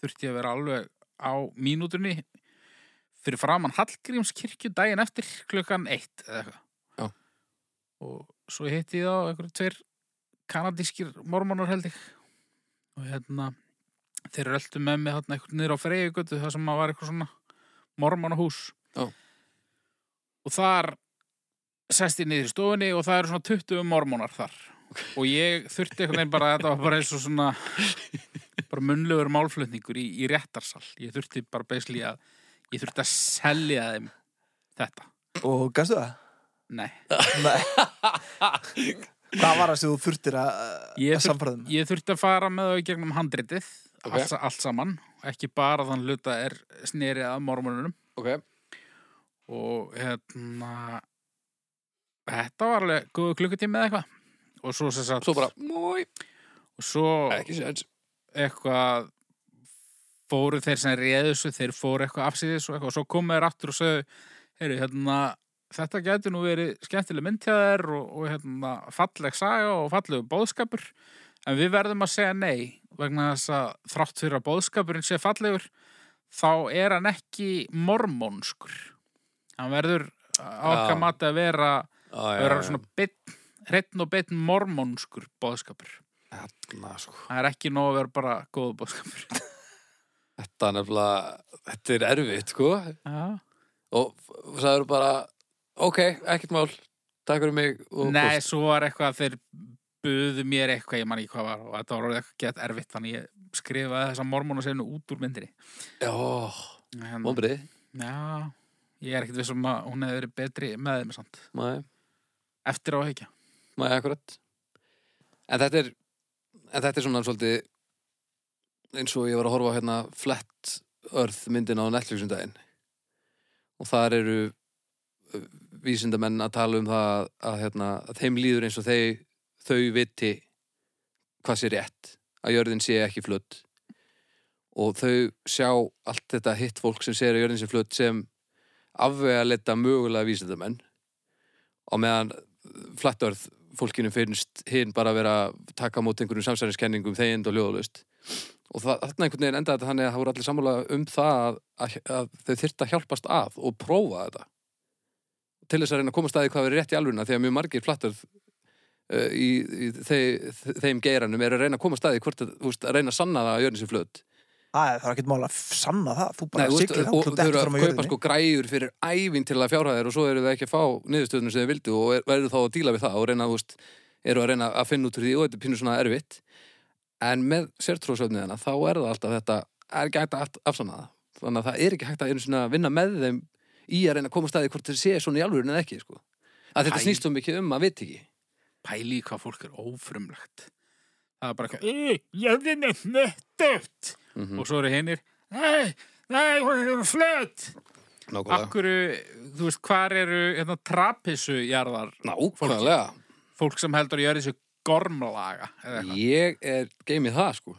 Speaker 1: þurfti ég að vera alveg á mínútunni fyrir framann Hallgrímskirkju daginn eftir klukkan eitt eða eitthvað
Speaker 2: Já.
Speaker 1: og svo hitti ég þá einhverju tveir kanadískir mormonar held ég og hérna þeir röldu með mig þarna einhvern niður á freyjugötu það sem að var eitthvað svona mormonahús
Speaker 2: Já.
Speaker 1: og þar sest ég niður í stofunni og það eru svona 20 mormonar þar og ég þurfti einhvern veginn bara þetta var bara eins og svona bara munlegur málflutningur í, í réttarsal ég þurfti bara beisli að ég þurfti að selja þeim þetta
Speaker 3: Og gafstu það?
Speaker 1: nei,
Speaker 3: Nei Hvað var það sem þú þurftir að,
Speaker 1: Ég
Speaker 3: að um?
Speaker 1: þurft-
Speaker 3: samfæraðum?
Speaker 1: ég þurfti að fara með þau í gegnum handritið
Speaker 2: Ok.
Speaker 1: allt, allt saman, ekki bara þann hluta er snerið að mormununum
Speaker 2: Ok.
Speaker 1: og hérna þetta var alveg góðu klukkutími eða eitthvað og svo sem sagt
Speaker 2: Svo bara, mói,
Speaker 1: og svo
Speaker 2: ekki séns.
Speaker 1: eitthvað fóru þeir sem réðu þessu, þeir fóru eitthvað afsýðis og eitthvað, og svo komu þeir aftur og sögðu heyru, hérna, þetta getur nú verið skemmtileg mynd hjá þér og, og hérna, falleg saga og fallegu bóðskapur en við verðum að segja nei vegna þess að þrátt fyrir að bóðskapurinn sé fallegur þá er hann ekki mormónskur hann verður
Speaker 2: Já.
Speaker 1: ákka mati að vera,
Speaker 2: Á,
Speaker 1: vera svona bitn, hreinn og bitn mormónskur bóðskapur
Speaker 2: Þarna, sko.
Speaker 1: það er ekki nóg að vera bara góð bóðskapur
Speaker 2: Þetta er nefnilega, þetta er erfitt, sko.
Speaker 1: Já.
Speaker 2: Og það eru bara, ok, ekkert mál, takk fyrir mig og
Speaker 1: Nei,
Speaker 2: plús.
Speaker 1: svo var eitthvað að þeir buðu mér eitthvað, ég man ekki hvað var og þetta var orðið eitthvað gett erfitt, þannig ég skrifaði þessa mormónu sefnu út úr myndinni
Speaker 2: Já,
Speaker 1: en,
Speaker 2: vonbrið,
Speaker 1: Já, ég er ekkert vissum að hún hefði verið betri með þeim samt,
Speaker 2: maður,
Speaker 1: eftir á að hekja
Speaker 2: maður akkurat. En þetta er, en þetta er svona svolítið eins og ég var að horfa á hérna flett örð myndina á Netflix um daginn. Og þar eru uh, vísindamenn að tala um það að, að, hérna, að þeim líður eins og þeir, þau viti hvað sé rétt. Að jörðin sé ekki flutt. Og þau sjá allt þetta hitt fólk sem segir að jörðin sé flutt sem afvega leta mögulega vísindamenn. Og meðan flattörð fólkinu finnst hinn bara að vera að taka á móti einhverjum samsæðiskenningum þegind og ljóðalust og það, þarna einhvern veginn endaði þetta þannig að það voru allir sammála um það að, að, að þau þyrfti að hjálpast að og prófa þetta til þess að reyna að komast að því hvað verið rétt í alvöruna því að mjög margir flattörð uh, í, í þe, þe- þeim geiranum er að reyna að komast að því hvort að, þú veist, að reyna að sanna það að jörnins er flöt
Speaker 3: Það er ekkert mál að f- sanna það Þú bara
Speaker 2: þú veist,
Speaker 3: siglir
Speaker 2: og þau eru
Speaker 3: áklut ekki
Speaker 2: að
Speaker 3: fram á
Speaker 2: kaupa
Speaker 3: jörðinni
Speaker 2: sko græjur fyrir ævintilega fjárhæðir og svo eru þau ekki að fá niðurstöðunum sem þau vildu og er- verður þá að díla við það og reyna, þú veist, eru að reyna að finna út úr því og þetta er pínu svona erfitt en með sértróðsöfniðina þá er það alltaf þetta er ekki hægt að aft- afsanna það þannig að það er ekki hægt að einu svona vinna með þeim í að reyna að koma staði hvort þeir sé svona í alvöru en ekki sko. að þetta
Speaker 1: Æ.
Speaker 2: snýst svo mikið um að vit ekki
Speaker 1: Pæli í hvað fólk er ófrumlegt Það er bara eitthvað "Í, Jörðin er nöttuft
Speaker 2: mm
Speaker 1: og svo eru hinnir Nei, nei, hún er flöt
Speaker 2: Nákvæmlega,
Speaker 1: Akkur, þú veist, hvar eru hérna, trapissu jarðar
Speaker 2: Nákvæmlega.
Speaker 1: fólk sem heldur að jörðin sé gormlaga eða eitthvað
Speaker 2: ég er geimið það sko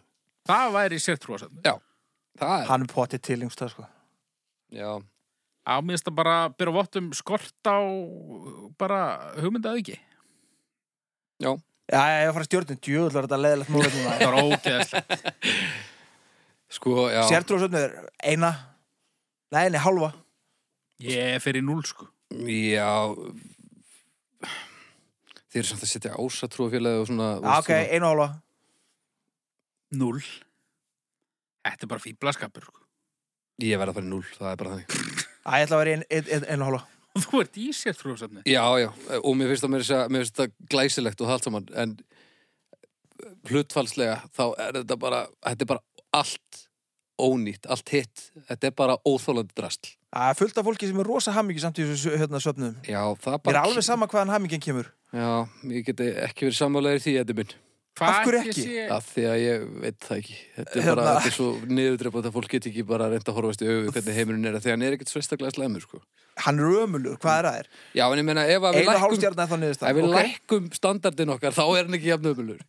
Speaker 1: Það væri sér trúasöfnu.
Speaker 2: það er,
Speaker 3: Hann er potið til yngsta sko
Speaker 2: já,
Speaker 1: Á mér finnst það bara að byrja vottum skort á bara hugmyndað ekki.
Speaker 3: Já, já, ég var að fara stjórnum, djöðlar þetta hérna. leðilegt múlið núna
Speaker 1: Það var ógeðslega.
Speaker 2: sko, já
Speaker 3: Sértrúðsöfnið er eina Nei, nei, halva
Speaker 1: Ég er fyrir núl, sko.
Speaker 2: Já Þið eru samt að setja ásatrúafélagi og svona, þú
Speaker 3: Já,
Speaker 2: veist,
Speaker 3: Ah, ok, einu halva
Speaker 1: Núl. Þetta er bara fýblaskapur, sko.
Speaker 2: svona Ég verð að fara í núl, það er bara þannig
Speaker 3: Æ, ég ætla að vera ein- ein- ein- einu halva
Speaker 1: Þú ert í sér trúasöfnu.
Speaker 2: Já, já, og mér finnst það mér, mér finnst það glæsilegt og það allt saman en hlutfalslega þá er þetta bara, þetta er bara allt ónýtt, allt hitt þetta er bara óþólandi drastl
Speaker 3: Það er fullt af fólki sem er rosa hamingi samt í þessu hérna, söfnuðum.
Speaker 2: Já, það
Speaker 3: Mér er
Speaker 2: bara...
Speaker 3: alveg sama hvaðan hamingin kemur.
Speaker 2: Já, ég geti ekki verið sammálaðir því, Eddi minn.
Speaker 3: Af hverju ekki?
Speaker 2: Af því að ég veit það ekki. Þetta er
Speaker 3: Hérna.
Speaker 2: bara, þetta er svo niðurdrepa að fólk geti ekki bara reynda að horfast í auðu hvernig heimurinn er. af Því að hann er ekkert svestaklega slæmur, sko.
Speaker 3: Hann er ömulur, hvað er það er?
Speaker 2: Já, en ég meina, ef að við
Speaker 3: Einu
Speaker 2: lækkum,
Speaker 3: hálfstjarn er þá niðurst
Speaker 2: ef við lækkum standardin okkar, þá er hann ekki jafn ömulur.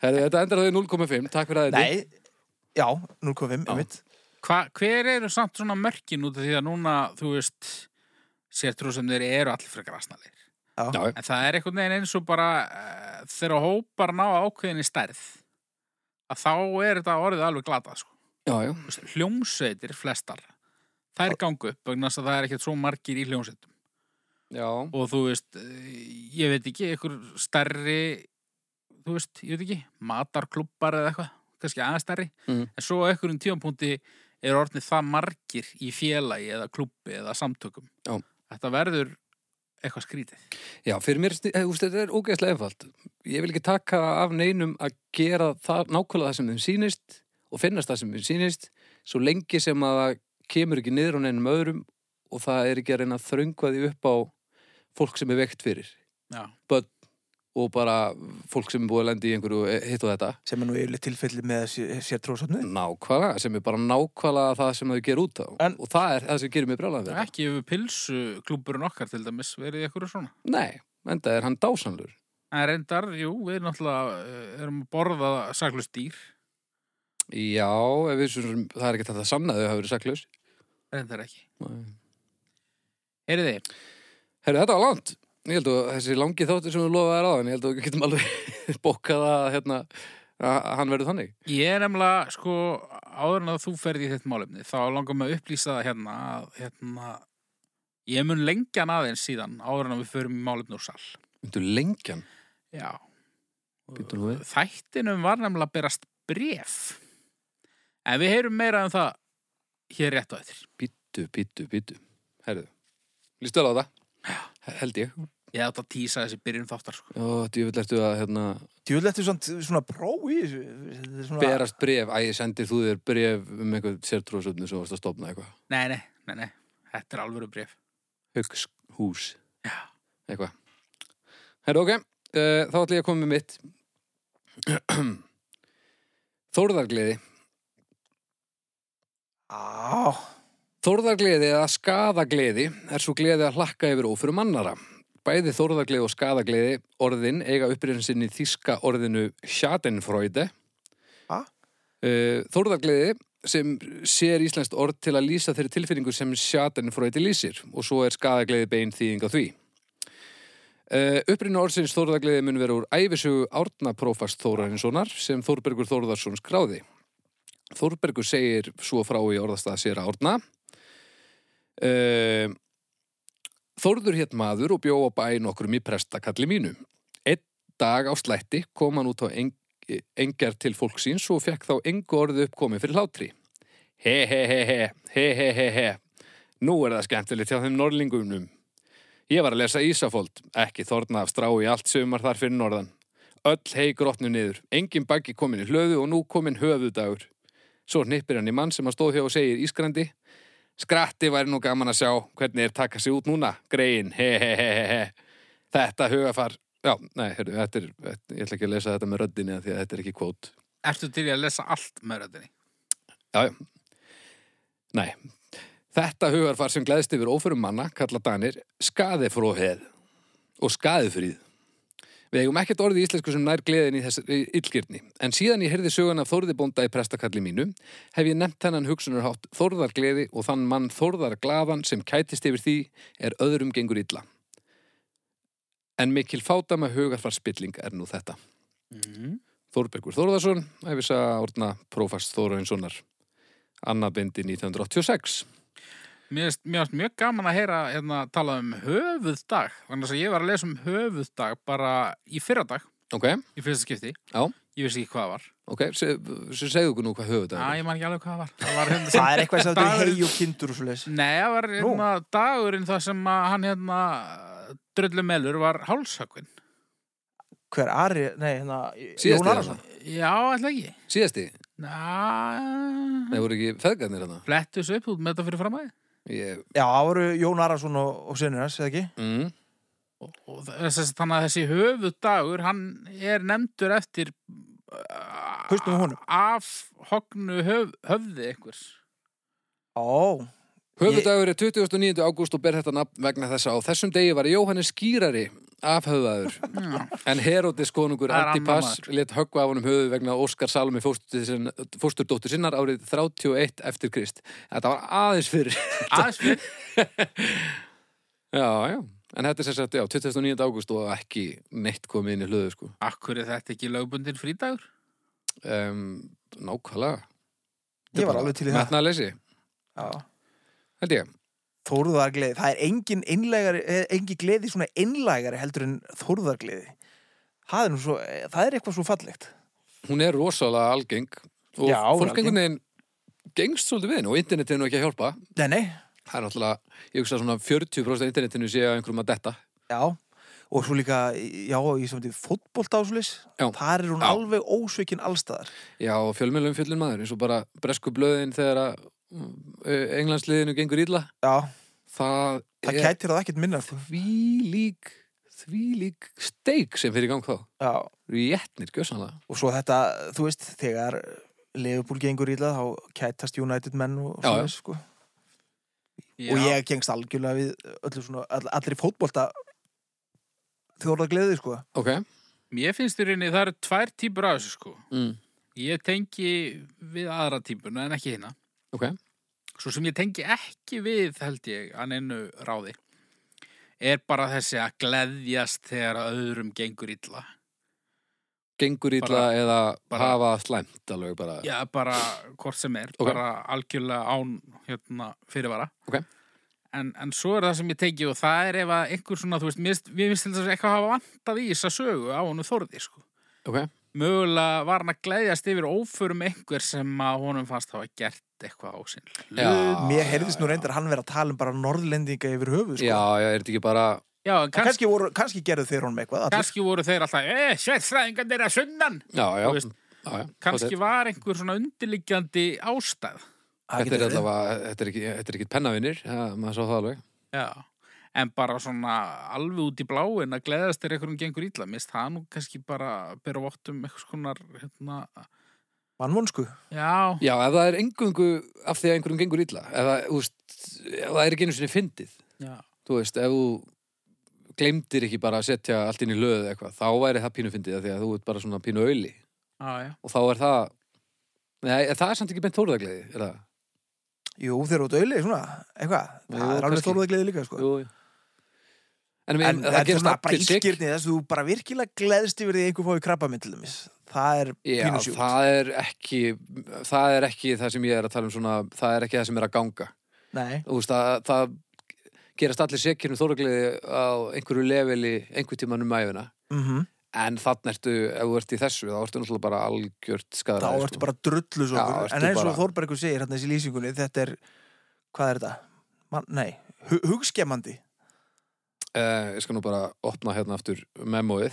Speaker 2: Herri, þetta endar þá í 0,5. Takk fyrir að þetta.
Speaker 3: Nei, já, 0,5, einmitt.
Speaker 1: Hva, hver eru samt svona mörkin út af því að núna, þú veist, sértrú sem þeir eru allir frekar asnalir.
Speaker 3: Já.
Speaker 2: Já,
Speaker 1: En það er einhvern veginn eins og bara uh, þegar hópar ná ákveðinni stærð, að þá er þetta orðið alveg glatað, sko.
Speaker 2: já, já.
Speaker 1: Þú veist, Hljómsveitir flestar, þær gangu upp vegna þess að það er ekkert svo margir í hljómsveitum.
Speaker 2: Já,
Speaker 1: Og þú veist, eh, ég veit ekki, einhver stærri, þú veist, ég veit ekki, matarklubbar eða eitthvað, kannski aðeins stærri.
Speaker 2: Mm.
Speaker 1: En svo á einhverjum tímapunkti er orðnið það margir í félagi eða klubbi eða samtökum.
Speaker 2: Já.
Speaker 1: Þetta verður eitthvað skrítið.
Speaker 2: já, fyrir mér, sni- eh, úst, þetta er ógeðslega einfalt. Ég vil ekki taka af neinum að gera það, nákvæmlega það sem þeim sýnist og finnast það sem þeim sýnist svo lengi sem að það kemur ekki niður á neinum öðrum og það er ekki að reyna að þröngva því upp á fólk sem er veikt fyrir
Speaker 1: Já.
Speaker 2: börn og bara fólk sem er búið að lenda í einhverju eh, hitt og þetta
Speaker 3: Sem er nú yfirleitt tilfelli með sér
Speaker 2: Mm.
Speaker 3: tróðsöfnuð.
Speaker 2: nákvæmlega, sem er bara nákvæmlega það sem þau gerir út á
Speaker 3: En-
Speaker 2: og það er það sem gerir mig brjálæðan við
Speaker 1: Ekki hefur pilsuklúburinn okkar til dæmis verið eitthvað svona.
Speaker 2: þetta Nei, enda er hann dásanlur
Speaker 1: En reyndar, jú, við náttúrulega eh, erum að borða saklust dýr.
Speaker 2: Já, ef við sem, það er ekki þetta að samna að þau hafa verið saklaus
Speaker 1: Reyndar ekki.
Speaker 2: Nei.
Speaker 1: Heyriði,
Speaker 2: Herru, þetta var langt. Ég held að þessi langi þáttur sem við lofaði að ráðan, ég held að við getum alveg bókað að, hérna, að hann verður þannig.
Speaker 1: ég er nefnilega, sko, áður en að þú ferði í þetta málefni, þá langar mig að upplýsa það hérna að, hérna, ég mun lengja hann aðeins síðan áður en að við förum í málefni úr sal.
Speaker 2: Myndu lengjan,
Speaker 1: Já.
Speaker 2: býttu nú við.
Speaker 1: Þættinum var nefnilega að berast bref. En við heyrum meira um það hér rétt á eftir.
Speaker 2: Býttu, býttu, býttu. Herru, lístu vel á það? Held ég.
Speaker 1: Ég átt að tísa þessi byrjun þáttar, sko.
Speaker 2: Ó, djúvill ertu að, hérna,
Speaker 3: Djúlega þetta er svona, svona pró í þessu. þetta er svona-
Speaker 2: berast bref. Æ, sendir þú þér bref um einhvern sértróðsöfnu sem varst að stopna eitthvað.
Speaker 1: Nei, nei, nei, nei. Þetta er alvöru bref.
Speaker 2: Hugshús.
Speaker 1: Já.
Speaker 2: Eitthvað. Herru, ok. Uh, þá ætla ég að koma með mitt. Þórðargleði.
Speaker 3: Á,
Speaker 2: Þórðargleði eða skadagleði er svo gleði að hlakka yfir ófyrum annara. Bæði þórðargleði og skadagleði orðin eiga upprýðin sinni í þíska orðinu schadenfreude.
Speaker 3: Ha?
Speaker 2: Eh, Þórðargleði sem sér íslenskt orð til að lýsa þeirri tilfinningu sem schadenfreude lýsir og svo er skadagleði bein þýðing á því. Uh, upprýðin orðsins þórðargleði mun vera úr æfisugu Árna Prófast Þórarinssonar sem Þórbergur Þórðarsson skráði. Þórbergur segir svo frá í orðastað sér Árna Eh, Þórður hétt maður og bjó á bæ nokkrum í prestakalli mínu. Einn dag á slætti kom hann út á eng engjar til fólksins og fekk þá engu orðu uppkomið fyrir hlátri. He he he he, he he he he. Nú er það skemmtilegt hjá þeim norlingunum. Ég var að lesa Ísafold, ekki þorna af strá í allt sumar þar fyrir norðan. Öll hei grotnu niður, engin baggi komin í hlöðu og nú komin höfudagur. Svo hnippir hann í mann sem að stóð hjá og segir ískrandi Skratti væri nú gaman að sjá hvernig er taka sig út núna, grein, he he he he he. Þetta hugafar, já, nei, heyrðu, þetta er, þetta- ég ætla ekki að lesa þetta með röddinni af því að þetta er ekki kvót.
Speaker 1: Ertu til í að lesa allt með röddinni?
Speaker 2: Já, já, nei. Þetta hugarfar sem gleðst yfir óförum manna, kalla danir, skaðefróheð og skaðefríð. Við eigum ekkert orðið í íslensku sem nær gleðin í þessari illgirni, en síðan ég heyrði söguna af Þórði bónda í prestakalli mínu, hef ég nefnt hennan hugsunarhátt Þórðargleði og þann mann Þórðarglaðan sem kætist yfir því er öðrum gengur illa. En mikil fátama hugarfarspilling er nú þetta.
Speaker 1: Mm.
Speaker 2: Þórbergur Þórðarsson, æfisa orðna prófast Þórainssonar, annabindi 1986.
Speaker 1: Mér finnst- mér finnst mjög gaman að heyra hérna tala um höfuðdag. Þannig að ég var að lesa um höfuðdag bara í fyrradag,
Speaker 2: Ok,
Speaker 1: í fyrsta skipti.
Speaker 2: Já.
Speaker 1: Ég vissi ekki hvað það var.
Speaker 2: ok, se- se- segðu okkur nú hvað höfuð
Speaker 1: Æ,
Speaker 2: það er.
Speaker 1: ég man ekki alveg hvað það var. Það var hérna
Speaker 3: það er eitthvað sem þetta
Speaker 1: Dagur-
Speaker 3: er hei og kindur og svo leiðis.
Speaker 1: Nei, það var hérna dagurinn það sem að hann hérna drullumelur var hálshöggvinn.
Speaker 3: Hver Ari, nei, hérna,
Speaker 2: Síðasti
Speaker 3: Jón Arason.
Speaker 1: Já, ætla ekki.
Speaker 2: Síðasti,
Speaker 1: Ná,
Speaker 2: það voru ekki feðgarnir hana.
Speaker 1: flettu þessu upp, þú ert með þetta fyrir framæði.
Speaker 2: Ég,
Speaker 3: Já, það voru Jón Arason og, og sinni hans, eða ekki?
Speaker 2: mm,
Speaker 1: og, og það er þess að þannig að þessi höfudagur hann er nefndur eftir uh,
Speaker 3: Hausnum á honum.
Speaker 1: af hognu höf, höfði einhvers
Speaker 3: Ó,
Speaker 2: höfudagur er 29. ágúst og ber þetta nafn vegna þessa. Á þessum degi var Jóhannes skýrari afhöfðaður.
Speaker 1: Já.
Speaker 2: En Herodes konungur
Speaker 1: Það er
Speaker 2: Antipas
Speaker 1: annar maður.
Speaker 2: let höggva af honum höfuð vegna Óskar Salome fóstur sinn- fósturdóttur sinnar árið 31 eftir Krist. Þetta var aðeins fyrir.
Speaker 1: aðeins fyrir
Speaker 2: Já, já. En þetta er sem sagt, já, 29. ágúst og ekki neitt komið inn í hlöðu, sko.
Speaker 1: Akkur er þetta ekki lögbundin frídagur?
Speaker 2: Um, nákvæmlega.
Speaker 3: ég var alveg til í það.
Speaker 2: Metna að lesi,
Speaker 3: Já.
Speaker 2: held ég.
Speaker 3: Þórðargleði, það er engin einlægari, eh, engin gleði svona einlægari heldur en þórðargleði. Það er, nú svo, eh, það er eitthvað svo fallegt.
Speaker 2: Hún er rosalega algeng og
Speaker 3: Já, hún er
Speaker 2: fólk
Speaker 3: algeng.
Speaker 2: einhvern veginn gengst svolítið við henni og internetið er nú ekki að hjálpa.
Speaker 3: Nei, nei,
Speaker 2: Það er náttúrulega, ég hugsa svona 40% af internetinu sé að einhverjum að detta.
Speaker 3: já. Og svo líka, já, í samtíð fótbolt áslis,
Speaker 2: Já.
Speaker 3: þar er hún
Speaker 2: Já.
Speaker 3: alveg ósveikin allstaðar.
Speaker 2: Já, og fjölmjölum fjöllin maður, eins og bara bresku blöðin þegar að uh, englandsliðinu gengur illa.
Speaker 3: Já,
Speaker 2: Það,
Speaker 3: það
Speaker 2: er
Speaker 3: kætir það ekkert minna. sko.
Speaker 2: því lík, því lík steik sem fyrir í gang þá.
Speaker 3: Já.
Speaker 2: Réttnir, gjössanlega.
Speaker 3: Og svo þetta, þú veist, þegar Leifbúl gengur illa, þá kætast United menn og
Speaker 2: Já, já.
Speaker 3: svona, sko. og ég gengst algjörlega við öllu svona, all, allri fótbolta þjóðargleði sko
Speaker 2: Ok.
Speaker 1: Mér finnst þér inni, það eru tvær típur af þessu sko.
Speaker 2: Mm.
Speaker 1: Ég tengi við aðra típuna en ekki hérna.
Speaker 2: Ok.
Speaker 1: Svo sem ég tengi ekki við, held ég, að neinu ráði, er bara þessi að gleðjast þegar að öðrum gengur illa.
Speaker 2: Gengur illa
Speaker 1: Bara-
Speaker 2: eða
Speaker 1: bara-
Speaker 2: hafa slæmt alveg bara.
Speaker 1: Já, bara hvort sem er,
Speaker 2: Ok.
Speaker 1: bara algjörlega án hérna, fyrirvara.
Speaker 2: Ok.
Speaker 1: En, en svo er það sem ég tengi og það er ef að einhver svona, þú veist, mér finnst- mér finnst til þess að eitthvað hafa vantað í þessa sögu á honum Þórði, sko.
Speaker 2: Ok.
Speaker 1: mögulega var hann að gleðjast yfir óförum einhver sem að honum fannst hafa gert eitthvað á sinn hlut.
Speaker 2: Já,
Speaker 3: mér heyrðist nú reyndar að hann vera að tala um bara norðlendinga yfir höfuð sko
Speaker 2: Já, já, er þetta ekki bara...
Speaker 1: Já, en
Speaker 3: kannski,
Speaker 1: kannski,
Speaker 3: kannski, voru, kannski gerðu þeir honum eitthvað allir.
Speaker 1: kannski voru þeir alltaf eh, sveitsræðingan þeirra sunnan
Speaker 2: Já, já.
Speaker 1: Þú veist,
Speaker 2: já, já.
Speaker 1: kannski var einhver svona undirliggjandi ástæð
Speaker 3: Það
Speaker 2: Þetta er
Speaker 3: getur verið.
Speaker 2: allavega, þetta er ekki, þetta er ekki pennavinir, ja, maður sá það alveg.
Speaker 1: Já. en bara svona alveg út í bláin að gleðjast þeir einhverjum gengur illa mist það nú kannski bara bera vottum eitthvað skonar hérna,
Speaker 3: mannvonsku
Speaker 1: já,
Speaker 2: Já, ef það er engungu af því að einhverjum gengur illa, ef það, þú veist, ef það er ekki einu sinni fyndið,
Speaker 1: já,
Speaker 2: þú veist, ef þú glemdir ekki bara að setja allt inn í löðu eitthvað, þá væri það pínu fyndið af því að þú ert bara svona pínu auðli
Speaker 1: já, já.
Speaker 2: og þá er það, nei, það er samt ekki beint þóruðagleiði, er það?
Speaker 3: jú þeir eru döðli svona eitthvað
Speaker 2: Jú,
Speaker 3: það er alveg
Speaker 2: kannski.
Speaker 3: þjóðargleði líka sko
Speaker 2: Jú, jú. En,
Speaker 3: en
Speaker 2: en
Speaker 3: það
Speaker 2: það
Speaker 3: er
Speaker 2: gerist
Speaker 3: svona bara
Speaker 2: allir sig.
Speaker 3: ískýrni þess að þú bara virkilega gleðst yfir því einhver fóði krabba minn til dæmis það er
Speaker 2: Já,
Speaker 3: pínusjúkt
Speaker 2: það er ekki, það er ekki það sem ég er að tala um svona, það er ekki það sem er að ganga.
Speaker 3: nei
Speaker 2: Þú veist, það, það gerast allir sekir um þóragliði á einhverju leveli einhver tíman um æfina.
Speaker 3: mm
Speaker 2: En þannig ertu, ef þú ert í þessu, þá ertu náttúrulega bara algjört sko.
Speaker 3: þá
Speaker 2: skadræði.
Speaker 3: ertu bara drullu svo
Speaker 2: Já, ertu
Speaker 3: en eins og
Speaker 2: bara-
Speaker 3: Þórbergur segir hérna þessi lýsingunni þetta er hvað er þetta? Man, nei hu hugskemmandi
Speaker 2: Uh, ég skal nú bara opna hérna aftur memóið.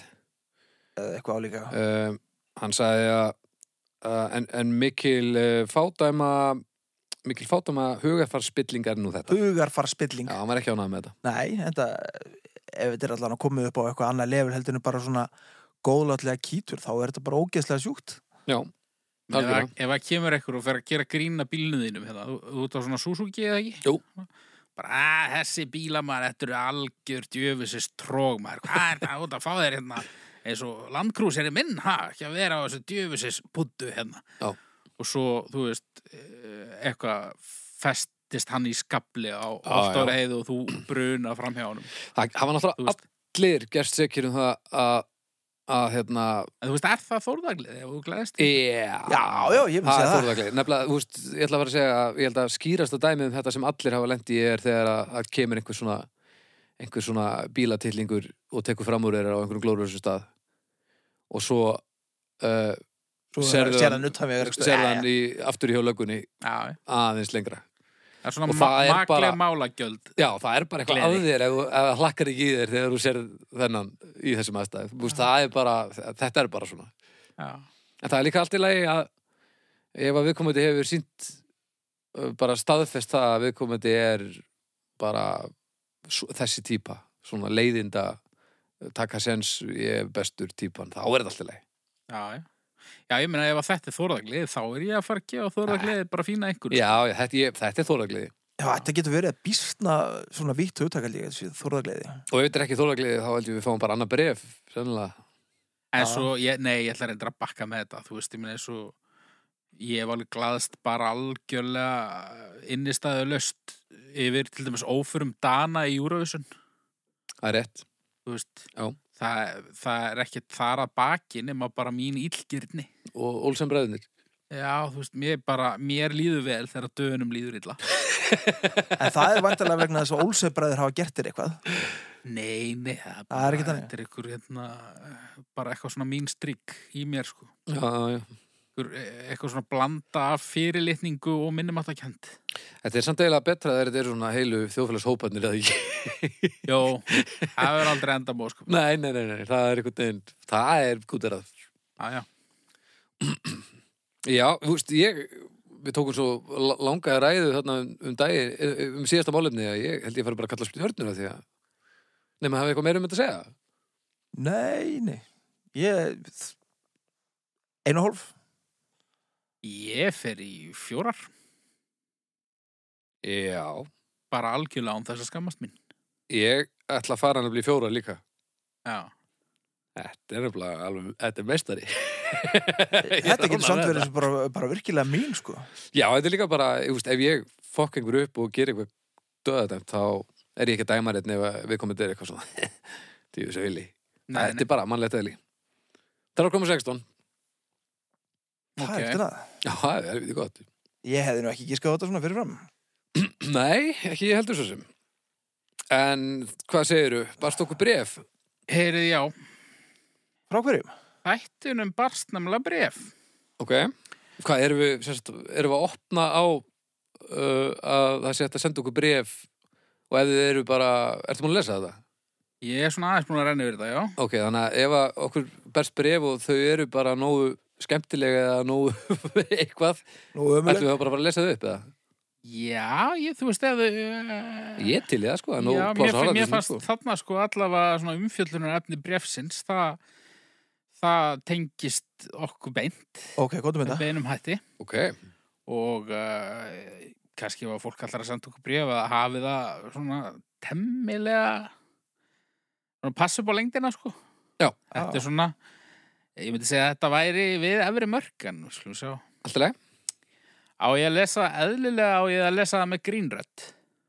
Speaker 3: eða eitthvað álíka
Speaker 2: Uh, hann sagði að, uh, en, en mikil uh, fádæma, mikil fádæma hugafarspilling er nú þetta.
Speaker 3: hugarfar
Speaker 2: Já,
Speaker 3: spilling
Speaker 2: hann var ekki ánað með þetta.
Speaker 3: nei, þetta, ef þetta er allan að koma upp á eitthvað annað level heldur en bara svona góðlátlega kýtur, þá er þetta bara ógeðslega sjúkt
Speaker 2: Já,
Speaker 1: Ef að,
Speaker 2: Algjörlega.
Speaker 1: ef að kemur ekkur og fer að gera grína bílnum þínum hérna, þú, þú ert á svona Suzuki eða ekki?
Speaker 2: Jú.
Speaker 1: Bara, að, þessi bílamar, þetta eru algjör djöfisist tróg, maður. Hvað er það út að fá þér hérna? Eins og landkrús er minn, ha? Ekki að vera á þessu djöfisist buddu hérna.
Speaker 2: Já.
Speaker 1: Og svo, þú veist, eh, eitthvað festist hann í skabli á
Speaker 2: Já,
Speaker 1: alltaf
Speaker 2: já.
Speaker 1: reið og þú bruna fram hjá honum.
Speaker 2: Það það var
Speaker 1: Þú
Speaker 2: náttúrulega
Speaker 1: veist.
Speaker 2: allir gerst sekir um það að að hérna,
Speaker 1: En þú veist, er það þórðaglið ef þú gleðist?
Speaker 2: yeah.
Speaker 3: Já, já, ég myndi segja það.
Speaker 2: það Nefnilega, þú veist, ég ætla að vera að segja að ég held að skýrasta dæmi um þetta sem allir hafa lendi er þegar að, að kemur einhver svona einhver svona bílatillingur og tekur fram úr þeirra á einhverjum glórulösu stað og svo uh,
Speaker 3: svo
Speaker 2: Sérðu
Speaker 3: sér
Speaker 2: hann-
Speaker 3: hann utan við Eh,
Speaker 2: serði hann í, aftur í hjóðlögunni
Speaker 1: Já, já.
Speaker 2: aðeins lengra
Speaker 1: það er svona
Speaker 2: Og
Speaker 1: ma
Speaker 2: það er
Speaker 1: makleg
Speaker 2: bara-
Speaker 1: málagjöld.
Speaker 2: Já, það er bara eitthvað
Speaker 1: Gleði.
Speaker 2: að þér ef, þú- ef það hlakkar ekki í þér þegar þú sér þennan í þessum aðstæð veist, það er bara, þetta er bara svona
Speaker 1: Já.
Speaker 2: En það er líka allt í lagi að ef að viðkomandi hefur sínt uh, bara staðfest það að viðkomandi er bara svo, þessi típa, svona leiðinda uh, taka sens, ég er bestur típan, þá er þetta alltaf leið
Speaker 1: Já, já. Já, ég meina ef að þetta er þóraðagliði þá er ég að fara að gefa þóraðagliði bara fína einhverju.
Speaker 2: Já, já, þetta, ég, þetta er þóragliði
Speaker 3: Já, þetta getur verið að býstna svona vítt hugtakalíka þessi þorðagleiði.
Speaker 2: og ef þetta er ekki þóragliði þá held ég við fáum bara annað bref sennilega,
Speaker 1: En
Speaker 3: Já.
Speaker 1: svo, ég, nei, ég ætla að reynda að bakka með þetta. Þú veist, ég meina eins og ég hef alveg glaðst bara algjörlega innistæðu löst yfir til dæmis óförum Dana í Júravísun.
Speaker 2: það er rétt
Speaker 1: Þú veist,
Speaker 2: Já.
Speaker 1: það, það er ekkert þar að baki nema bara mín illgirni.
Speaker 2: og Olsen bræðinir
Speaker 1: Já, þú veist, mér bara, mér líður vel þegar döðunum líður illa.
Speaker 3: En það er vantarlega vegna þess að Olsebræður hafa gert þér eitthvað.
Speaker 1: Nei, nei, það er
Speaker 3: Það er
Speaker 1: bara,
Speaker 3: ekki þannig.
Speaker 1: þetta er ykkur, hérna, bara eitthvað svona mín strikk í mér, sko.
Speaker 2: já, já, já.
Speaker 1: Ykkur, e, eitthvað svona blanda af fyrirlitningu og minnumáttakjönd.
Speaker 2: Þetta er samt eiginlega betra þegar þetta er svona heilu þjófélagshóparnir eða ekki.
Speaker 1: Jó, það verður aldrei enda móð, sko.
Speaker 2: Nei, nei, nei, nei, það er einhvern veginn, það er gúterað.
Speaker 1: Já, já.
Speaker 2: Já, þú veist, ég, við tókum svo la- langa ræðu þarna um, um dagi, um síðasta málefni að ég held ég fari bara að kalla spjörnur af því að, nema að hafa eitthvað meira um þetta að segja.
Speaker 3: Nei, nei. Ég... Einu og hálf.
Speaker 1: Ég fer í fjórar,
Speaker 2: Já,
Speaker 1: bara algjörlega án þess að skammast mín.
Speaker 2: ég ætla að fara hann að bli fjóra líka.
Speaker 1: Já,
Speaker 2: Þetta er nefnilega alveg, þetta er meistari.
Speaker 3: Þetta getur samt verið sem bara, bara virkilega mín, sko.
Speaker 2: Já, þetta er líka bara, ég veist, ef ég fokk einhver upp og ger eitthvað döðadæmt, þá er ég ekki að dæma rétt nefn við komum til eitthvað svona. Því þessu vili.
Speaker 1: nei,
Speaker 2: Þetta er bara mannlegt eðli. Það er að koma 16.
Speaker 1: nei,
Speaker 3: Það er
Speaker 1: ok.
Speaker 3: eftir það.
Speaker 2: Já, það er við gott.
Speaker 3: Ég hefði nú ekki gískað á þetta svona fyrirfram.
Speaker 2: Nei, ekki ég heldur svo sem. En hvað segiru? Barst okkur bref?
Speaker 1: Heyrið, já,
Speaker 3: Frá hverjum?
Speaker 1: þættunum barst nefnilega bref.
Speaker 2: Ok. Hvað, erum við, sérst, erum við að opna á uh, að það sé hægt að senda okkur bref og ef þið eru bara, ertu múin að lesa þetta?
Speaker 1: Ég er svona aðeins búin að renna yfir þetta, já.
Speaker 2: Ok, þannig að ef að okkur berst bref og þau eru bara nógu skemmtilega eða nógu eitthvað,
Speaker 3: Nú
Speaker 2: ætlum
Speaker 3: ömuleg.
Speaker 2: við þá bara að fara að lesa þau upp eða?
Speaker 1: Já, ég, þú veist, ef... Uh,
Speaker 2: Ég til ég það sko, það er nógu
Speaker 1: Já, mér,
Speaker 2: pláss á
Speaker 1: mér
Speaker 2: Halldísi,
Speaker 1: fannst
Speaker 2: sko.
Speaker 1: þarna sko allavega svona umfjöllunar efni brefsins, það, það tengist okkur beint,
Speaker 3: Ok, gott um
Speaker 1: með
Speaker 3: þetta.
Speaker 1: beinum hætti
Speaker 2: Ok,
Speaker 1: og uh, kannski var fólk allar að senda okkur bref að hafi það svona temmilega, svona passa upp á lengdina sko.
Speaker 2: Já.
Speaker 1: Þetta er svona, ég myndi segja að þetta væri við efri mörkan, skulum sjá.
Speaker 2: alltaf leið.
Speaker 1: Á ég að lesa eðlilega, á ég að lesa það með grínrött.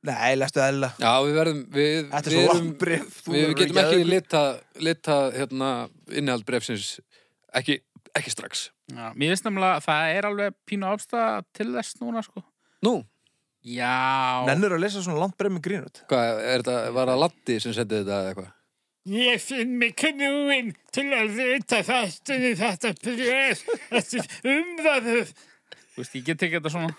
Speaker 3: Nei, lestu það eðla.
Speaker 2: Já, við verðum, við,
Speaker 3: Þetta er
Speaker 2: við
Speaker 3: svo
Speaker 2: erum,
Speaker 3: langt bref.
Speaker 2: við, við getum ekki lita, lita hérna, innihald brefsins, ekki, ekki strax.
Speaker 1: Já, mér finnst nefnilega að það er alveg pínu ástæða til þess núna sko.
Speaker 2: Nú,
Speaker 1: Já.
Speaker 3: Nennur að lesa svona langt um bref með grínut.
Speaker 2: hvað, er þetta, var það Latti sem sendið þetta eða eitthvað?
Speaker 1: Ég finn mig knúinn til að vita þáttunni þetta bref, þetta umvæðuð. Þú veist, ég get ekki þetta svona.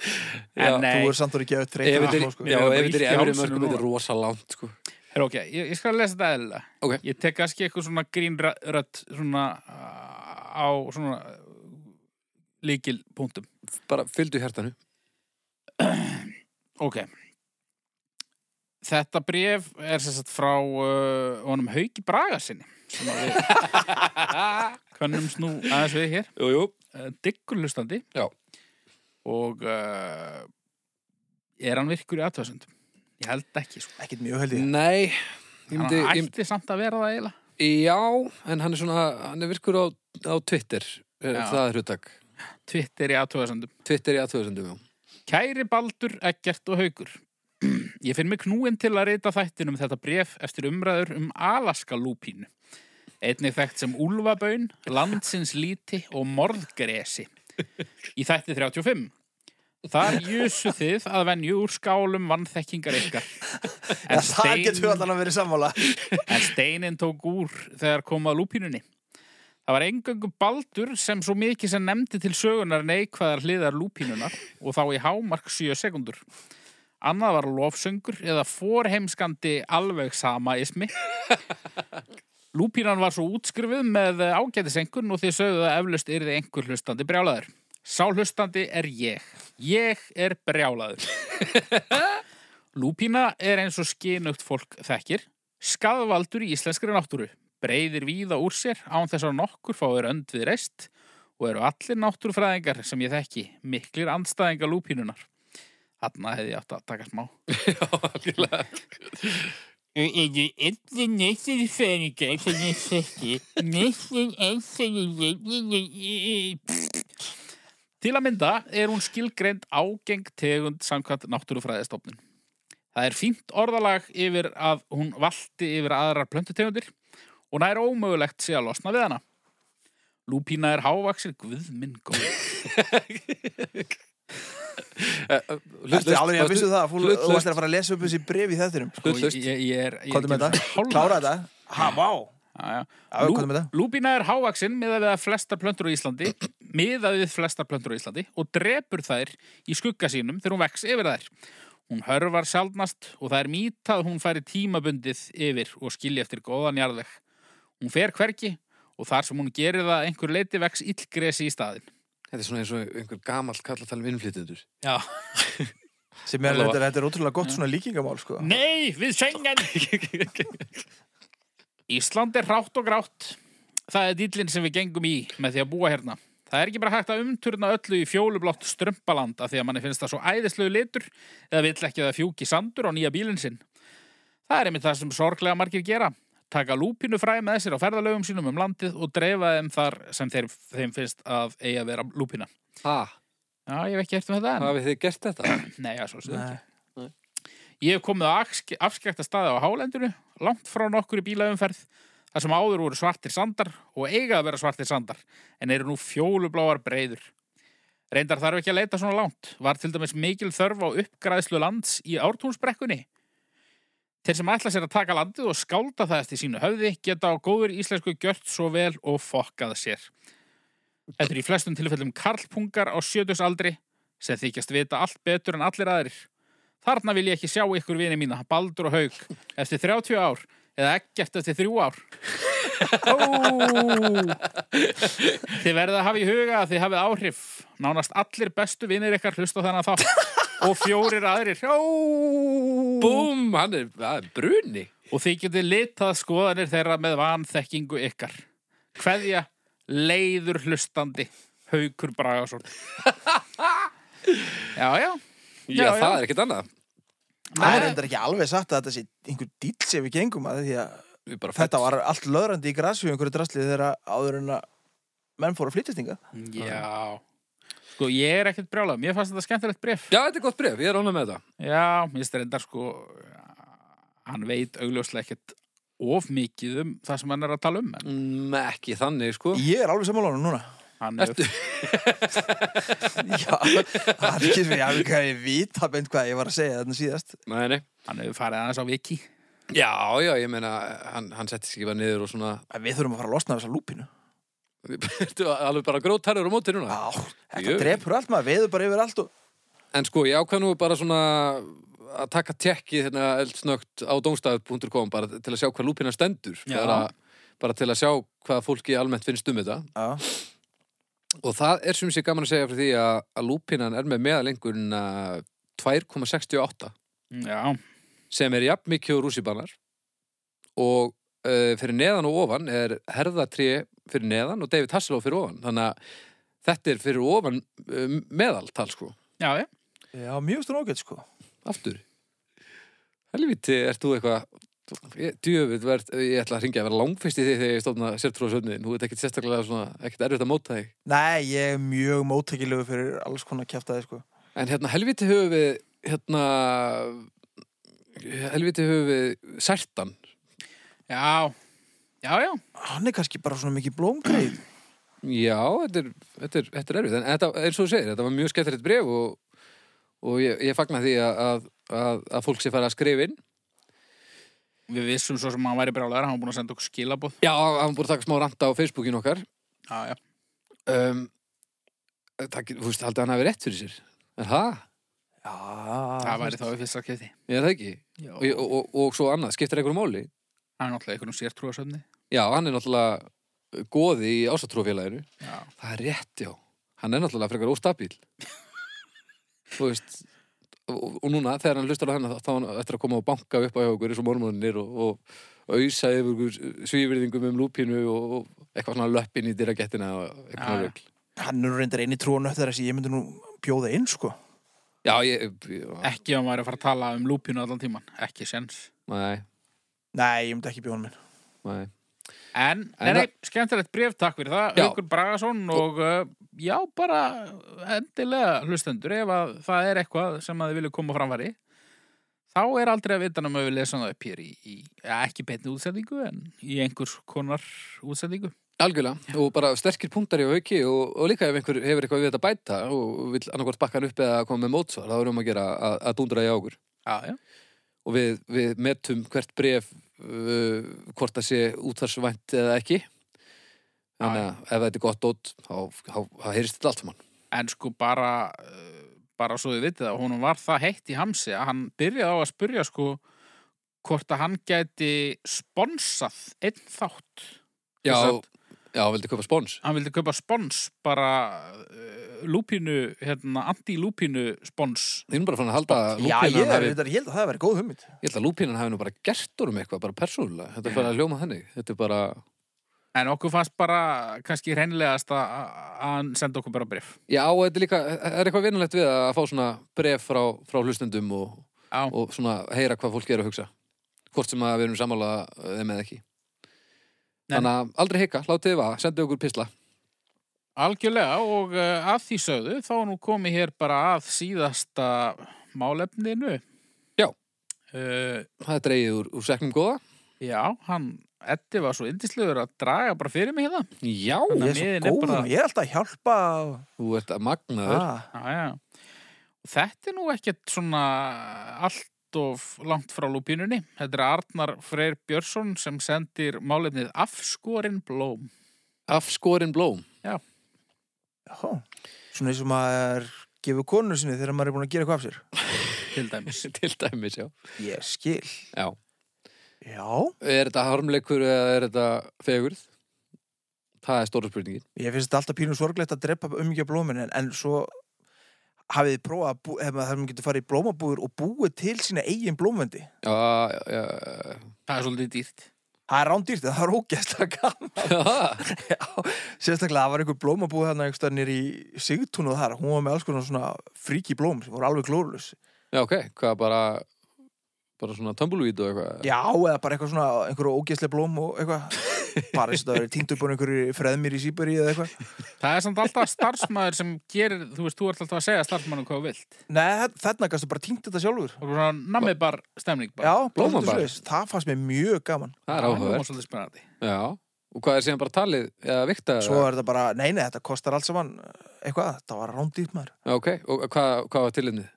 Speaker 2: Já,
Speaker 1: en nei,
Speaker 3: Þú er samt og ekki að
Speaker 2: Ef
Speaker 3: treyta
Speaker 2: þetta er-
Speaker 3: það, sko.
Speaker 2: já,
Speaker 1: Við erum
Speaker 2: ef
Speaker 1: bara í
Speaker 2: þetta er í efri
Speaker 1: fjálsinu
Speaker 2: mörgum,
Speaker 1: núna.
Speaker 2: þetta er rosa langt, sko.
Speaker 1: er ok, ég, ég skal lesa þetta eðlilega.
Speaker 2: Ok,
Speaker 1: Ég tek kannski eitthvað svona grínrött svona uh, á svona uh, líkilpunktum.
Speaker 2: bara fylgdu hjartanu.
Speaker 1: Ok. Þetta bref er sem sagt frá uh, honum Hauki Braga sinni, sem að við kannum snú aðeins við hér.
Speaker 2: Jú, jú.
Speaker 1: uh, diggur hlustandi
Speaker 2: Já.
Speaker 1: og uh, er hann virkur í aðtöðsöndum? Ég held ekki sko.
Speaker 3: Ekkert mjög held ég.
Speaker 2: Nei, ég
Speaker 1: Hann
Speaker 2: myndi, ég,
Speaker 1: ætti samt að vera það eiginlega
Speaker 2: já, en hann er svona, hann er virkur á, á Twitter, er,
Speaker 1: Já.
Speaker 2: það er huttak.
Speaker 1: Twitter í aðtöðsöndum
Speaker 2: Twitter í aðtöðsendum, já.
Speaker 1: Kæri Baldur, Eggert og Haugur Ég finn mig knúin til að reyta þættinum þetta bref eftir umræður um Alaska lúpínu Einnig þekkt sem Úlfabön, Landsins líti og Morðgresi í þætti 35 Þar jusu þið að venju úr skálum vannþekkingar ykkar En
Speaker 3: En það getur við allan að vera sammála.
Speaker 1: en steinin tók úr þegar kom að lúpínunni. Það var engöngu baldur sem svo mikið sem nefndi til sögunar neikvæðar hliðar lúpínunar og þá í hámark 7 sekundur. Annað var lofsöngur eða forheimskandi alveg sama ismi. Lúpínan var svo útskrifuð með ágætisengun og þið sögðu að eflaust yrði einhver hlustandi brjálaður. Sáhlustandi er ég. Ég er brjálaður. Lúpína er eins og skinugt fólk þekkir. Skaðvaldur í íslenskri náttúru. Breiðir víða úr sér án þess að nokkur fáir önd við reist og eru allir náttúrufræðingar sem ég þekki miklir andstæðingar lúpínunar. Þarna hefði ég átt að taka smá.
Speaker 2: algjörlega.
Speaker 1: Eru allir náttúrufræðingar sem ég þekki miklir andstæðingar Til að mynda er hún skilgreind ágeng tegund samkvæmt náttúrufræðistofnun. Það er fínt orðalag yfir að hún valti yfir aðrar plöntutegundir og það er ómögulegt sé að losna við hana. Lúpína er hávaksir guðminn góð.
Speaker 3: Þetta er alveg að vissu það fúl- Þú
Speaker 2: hlutlaust.
Speaker 3: ættir að fara að lesa upp þessi bref í þettinum
Speaker 1: Sko,
Speaker 2: Hlutlaust.
Speaker 1: Ég, ég er... ég er
Speaker 3: Kóttu með
Speaker 1: ekki
Speaker 3: þetta,
Speaker 1: hálfnaður.
Speaker 3: klára þetta Ha, vá
Speaker 1: Já, já.
Speaker 3: Já,
Speaker 1: Lú-
Speaker 3: hvað er með það?
Speaker 1: Lúpína er hávaxin miðað við að flestar plöntur á Íslandi miðað við flestar plöntur á Íslandi og drepur þær í skugga sínum þegar hún vex yfir þær. Hún hörfar sjaldnast og það er mýta að hún færi tímabundið yfir og skilja eftir góðan jarðveg. Hún fer hvergi og þar sem hún gerir það að einhver leiti vex illgresi í staðin.
Speaker 2: Þetta er svona eins og einhver gamall kall að tala um innflytjendur.
Speaker 1: Já.
Speaker 3: Sem
Speaker 2: Allavega.
Speaker 3: er,
Speaker 2: Mm.
Speaker 3: þetta, þetta er ótrúlega gott svona líkingamál sko.
Speaker 1: Nei, við sengan! Ísland er rátt og grátt. Það er dýllin sem við gengum í með því að búa hérna. Það er ekki bara hægt að umturna öllu í fjólublátt strömpaland af því að manni finnst það svo æðislegu litur eða vill ekki að það fjúki sandur á nýja bílinn sinn. Það er einmitt það sem sorglega margir gera. Taka lúpínu fræ með þessir á ferðalögum sínum um landið og dreifa þeim þar sem þeir, þeim finnst að eiga að vera lúpína.
Speaker 2: Ha,
Speaker 1: Já, ég hef ekki eftir með þetta en...
Speaker 2: hafið þið gert þetta?
Speaker 1: Nei, já, svo sem
Speaker 3: Nei.
Speaker 1: Ég hef komið á afsk- afskekta staði á hálendinu, langt frá nokkur í bílaumferð, þar sem áður voru svartir sandar og eiga að vera svartir sandar, en eru nú fjólubláar breyður. Reyndar þarf ekki að leita svona langt, var til dæmis mikil þörf á uppgræðslu lands í ártúnsbrekkunni. Þeir sem ætla sér að taka landið og skálda það eftir sínu höfði geta á góður íslensku gjört svo vel og fokkað sér. Þetta er í flestum tilfellum karlpungar á sjötusaldri sem þykjast vita allt betur en allir aðrir. Þarna vil ég ekki sjá ykkur vini mína, Baldur og Haug, eftir 30 ár eða ekkert eftir þrjú ár. Ó! Þið verðið að hafa í huga að þið hafið áhrif. Nánast allir bestu vinir ykkar hlusta á þennan þátt og fjórir aðrir. Ó!
Speaker 2: Búm, hann er, það er bruni.
Speaker 1: Og þið getið litað skoðanir þeirra með vanþekkingu ykkar. Kveðja, leiður hlustandi, Haugur Bragason. já, já.
Speaker 2: Já,
Speaker 1: Já, já.
Speaker 2: það er ekkert annað.
Speaker 3: Það er reyndar ekki alveg satt að þetta sé einhver dýll sem við gengum að því að
Speaker 2: Við bara
Speaker 3: þetta var allt löðrandi í grasfjöðu einhverju drasli þegar áður en að menn fóru að flytjast yngar
Speaker 1: Já Sko, ég er ekkert brjálað, mér fannst þetta skemmtilegt bref
Speaker 2: Já, þetta er gott bref, ég er ánægð með þetta.
Speaker 1: Já, mér styrir sko hann veit augljóslega ekkert of mikið um það sem hann er að tala um en
Speaker 2: Mm, ekki þannig, sko.
Speaker 3: Ég er alveg sammála honum núna
Speaker 1: hann
Speaker 2: Ertu?
Speaker 3: Já, það er ekki sem ég alveg að ég vita beint hvað ég var að segja þarna síðast
Speaker 2: Nei, nei.
Speaker 1: hann hefur farið aðeins á viki
Speaker 2: Já, já, ég meina, hann, hann setti sig ekki bara niður og svona,
Speaker 3: En Við þurfum að fara að losna af þessa lúpinu
Speaker 2: Ertu alveg bara grótarur á móti núna.
Speaker 3: Já, þetta
Speaker 2: Jú.
Speaker 3: drepur allt maður, veður bara yfir allt og
Speaker 2: En sko, ég ákvað nú bara svona að taka tekki hérna eldsnögt á domstaf.com bara til að sjá hvað lúpina stendur.
Speaker 1: Já.
Speaker 2: Bara, bara til að sjá hvað fólki almennt finnst um þetta.
Speaker 3: Já,
Speaker 2: Og það er sem sé gaman að segja fyrir því að, að lúpinan er með uh, meðalengurinn að 2,68
Speaker 1: Já,
Speaker 2: sem er jafn mikið og rússibanar og uh, fyrir neðan og ofan er herðatrí fyrir neðan og David Hasselhoff fyrir ofan þannig að þetta er fyrir ofan uh, meðaltal sko,
Speaker 1: já, já
Speaker 3: já mjög stund ágætt sko
Speaker 2: aftur Helviti, ert þú eitthvað Ég- djöfull verð, ég ætla að ringja að vera langfist í því þegar ég stofna sértrúasöfni nú er þetta ekkert sérstaklega svona, ekkert erfitt að móta þig
Speaker 3: Nei, ég er mjög móttækilegu fyrir alls konar kjaftaði sko
Speaker 2: En hérna, helviti höfum við hérna helviti höfum við særtan
Speaker 1: Já, já, já,
Speaker 3: Hann er kannski bara svona mikið blómgreið
Speaker 2: Já, þetta er, þetta er, þetta er erfið en þetta, eins og þú segir, þetta var mjög skemmtilegt bref og, og ég, ég fagna því að, að, að, að fólk sé fara að skrifa inn
Speaker 1: við vissum svo sem hann væri brjálaður hann var búin að senda okkur skilabóð
Speaker 2: Já, hann búið að taka smá ranta á Facebookin okkar
Speaker 1: Já, já,
Speaker 2: um, það, Þú veist, haldið að hann hafi rétt fyrir sér Er það?
Speaker 3: Já,
Speaker 1: það væri þá í fyrsta skipti
Speaker 2: Ég er það ekki
Speaker 1: Já.
Speaker 2: og, og, og, og svo annað, skiptir einhverjum máli
Speaker 1: Hann er náttúrulega einhvern sértrúasöfni
Speaker 2: Já, hann er náttúrulega goði í ásatrúfélaginu
Speaker 1: Já,
Speaker 2: Það er rétt, já hann er náttúrulega frekar óstabíl þú veist og, og núna þegar hann hlustar á hennar þá- þá hann eftir að koma og banka upp á hjá okkur eins og mormónir og, og ausa yfir okkur svífyrðingum um lúpínu og, og eitthvað svona löppin í dyrragettina og eitthvað
Speaker 1: Já, já.
Speaker 2: rögl
Speaker 3: Hann er nú reyndar eini trúan öll þess að ég myndi nú bjóða inn, sko.
Speaker 2: Já, ég, ég
Speaker 1: Ekki að maður er að fara að tala um lúpínu allan tíman. Ekki sens.
Speaker 2: nei,
Speaker 3: Nei, ég myndi ekki bjóða hann minn.
Speaker 2: nei
Speaker 1: En,
Speaker 2: En
Speaker 1: en nei, skemmtilegt bref, takk fyrir það,
Speaker 2: Já.
Speaker 1: Haukur Bragason og uh, já, bara endilega hlustendur ef að það er eitthvað sem að þið vilju koma á framfæri þá er aldrei að vita um að við lesum það upp hér í, í ja, ekki beinni útsendingu en í einhvers konar útsendingu.
Speaker 2: Algjörlega, og bara sterkir punktar í auki og, og líka ef einhver hefur eitthvað við þetta að bæta og vill annarkvort bakka hann upp eða koma með mótsvar þá erum við að gera að, að dúndra í águr
Speaker 1: Já, já.
Speaker 2: og við, við metum hvert bref uh, hvort það sé útvarsvænt eða ekki þannig að ef þetta er gott dót þá, þá, þá heyrist þetta allt saman
Speaker 1: En sko bara, uh, bara svo þið vitið að honum var það heitt í hamsi að hann byrjaði á að spyrja sko hvort að hann gæti sponsað einn þátt.
Speaker 2: Já,
Speaker 1: Sem sagt,
Speaker 2: já, vildi köpa spons
Speaker 1: hann vildi kaupa spons bara uh, lúpínu, hérna, anti-lúpínu spons.
Speaker 2: Ég er nú bara fann að halda að
Speaker 3: Já, ég,
Speaker 2: lúpínan
Speaker 3: er,
Speaker 2: hafi,
Speaker 3: reyndar, ég held að það hafi verið góð hugmynd.
Speaker 2: ég held að lúpínan hafi nú bara gert úr um eitthvað, bara persónulega Þetta er bara að hljóma þannig, þetta er bara
Speaker 1: En okkur fannst bara kannski hreinlegast að að hann senda okkur bara bref.
Speaker 2: Já, og þetta er líka, það er eitthvað vinulegt við að fá svona bref frá, frá hlustendum og,
Speaker 1: Já.
Speaker 2: og svona heyra hvað fólk er að hugsa hvort sem að við erum sammála þeim eða ekki
Speaker 1: Nei.
Speaker 2: Þannig að aldrei hika, látið þið vaða, sendið okkur pisla
Speaker 1: Algjörlega og uh, að því sögðu þá er nú komið hér bara að síðasta málefninu.
Speaker 2: Já.
Speaker 1: Uh,
Speaker 2: Það er dreigið úr, úr seknum góða
Speaker 1: já, hann, Eddi var svo yndislegur að draga bara fyrir mig hérna.
Speaker 2: Já,
Speaker 1: Þannig að
Speaker 3: Ég er
Speaker 1: miðin
Speaker 3: svo
Speaker 1: er
Speaker 3: góð,
Speaker 1: bara-
Speaker 3: ég er alltaf að hjálpa. og-
Speaker 2: þú ert að magnaður
Speaker 3: Ah,
Speaker 1: Já, já. Þetta er nú ekkert svona allt of langt frá lúpínunni. Þetta er Arnar Freyr Björnsson sem sendir málefnið Afskorinn blóm.
Speaker 2: Afskorinn blóm
Speaker 3: já. Svona eins og maður gefur konu sinni þegar maður er búin að gera eitthvað af sér.
Speaker 1: til dæmis.
Speaker 2: til dæmis, já
Speaker 3: Ég skil.
Speaker 2: Já,
Speaker 3: Já.
Speaker 2: er þetta harmleikur eða er þetta fegurð? Það er stóra spurningin
Speaker 3: Ég finnst þetta alltaf pínum sorglegt að drepa umgja blómin en, en svo hafið þið prófað að bú, hef, það maður getur farið í blómabúður og búið til sína eigin blómvendi.
Speaker 2: Já, já,
Speaker 1: Það er svolítið dýrt.
Speaker 3: Það er rándýrt, það er ógæslega gaman.
Speaker 2: já
Speaker 3: Já, sérstaklega það var einhver blómabúð hérna einhver staðar nýri í Sigtún og þar. Hún var með alls konar svona fríki blóm sem voru alveg glórulus.
Speaker 2: Já, ok, hvað bara bara svona tumbleweed og eitthvað
Speaker 3: Já, eða bara eitthvað svona, einhverju ógæslega blóm og eitthvað. Bara þess að það verið týnd upp á einhverju freðmir í Sýbari eða eitthvað.
Speaker 1: Það er samt alltaf starfsmæður sem gerir, þú veist, þú ert alltaf að segja starfsmæðunum hvað þú vilt.
Speaker 3: Nei, þarna gæstu bara týnd þetta sjálfur.
Speaker 1: Það er svona nammibar stemning
Speaker 3: Já,
Speaker 1: bara.
Speaker 3: blómabar.
Speaker 2: Blómabar.
Speaker 3: Það fannst mér mjög gaman.
Speaker 2: Það er áhugavert.
Speaker 1: svolítið spennandi.
Speaker 2: Já, og hvað er síðan bara talið eða vikta?
Speaker 3: Svo er þetta bara, nei, nei, þetta kostar allt saman eh, eitthvað, þetta var rándýrt maður.
Speaker 2: Já, ok, og hvað, hvað var tilhengið?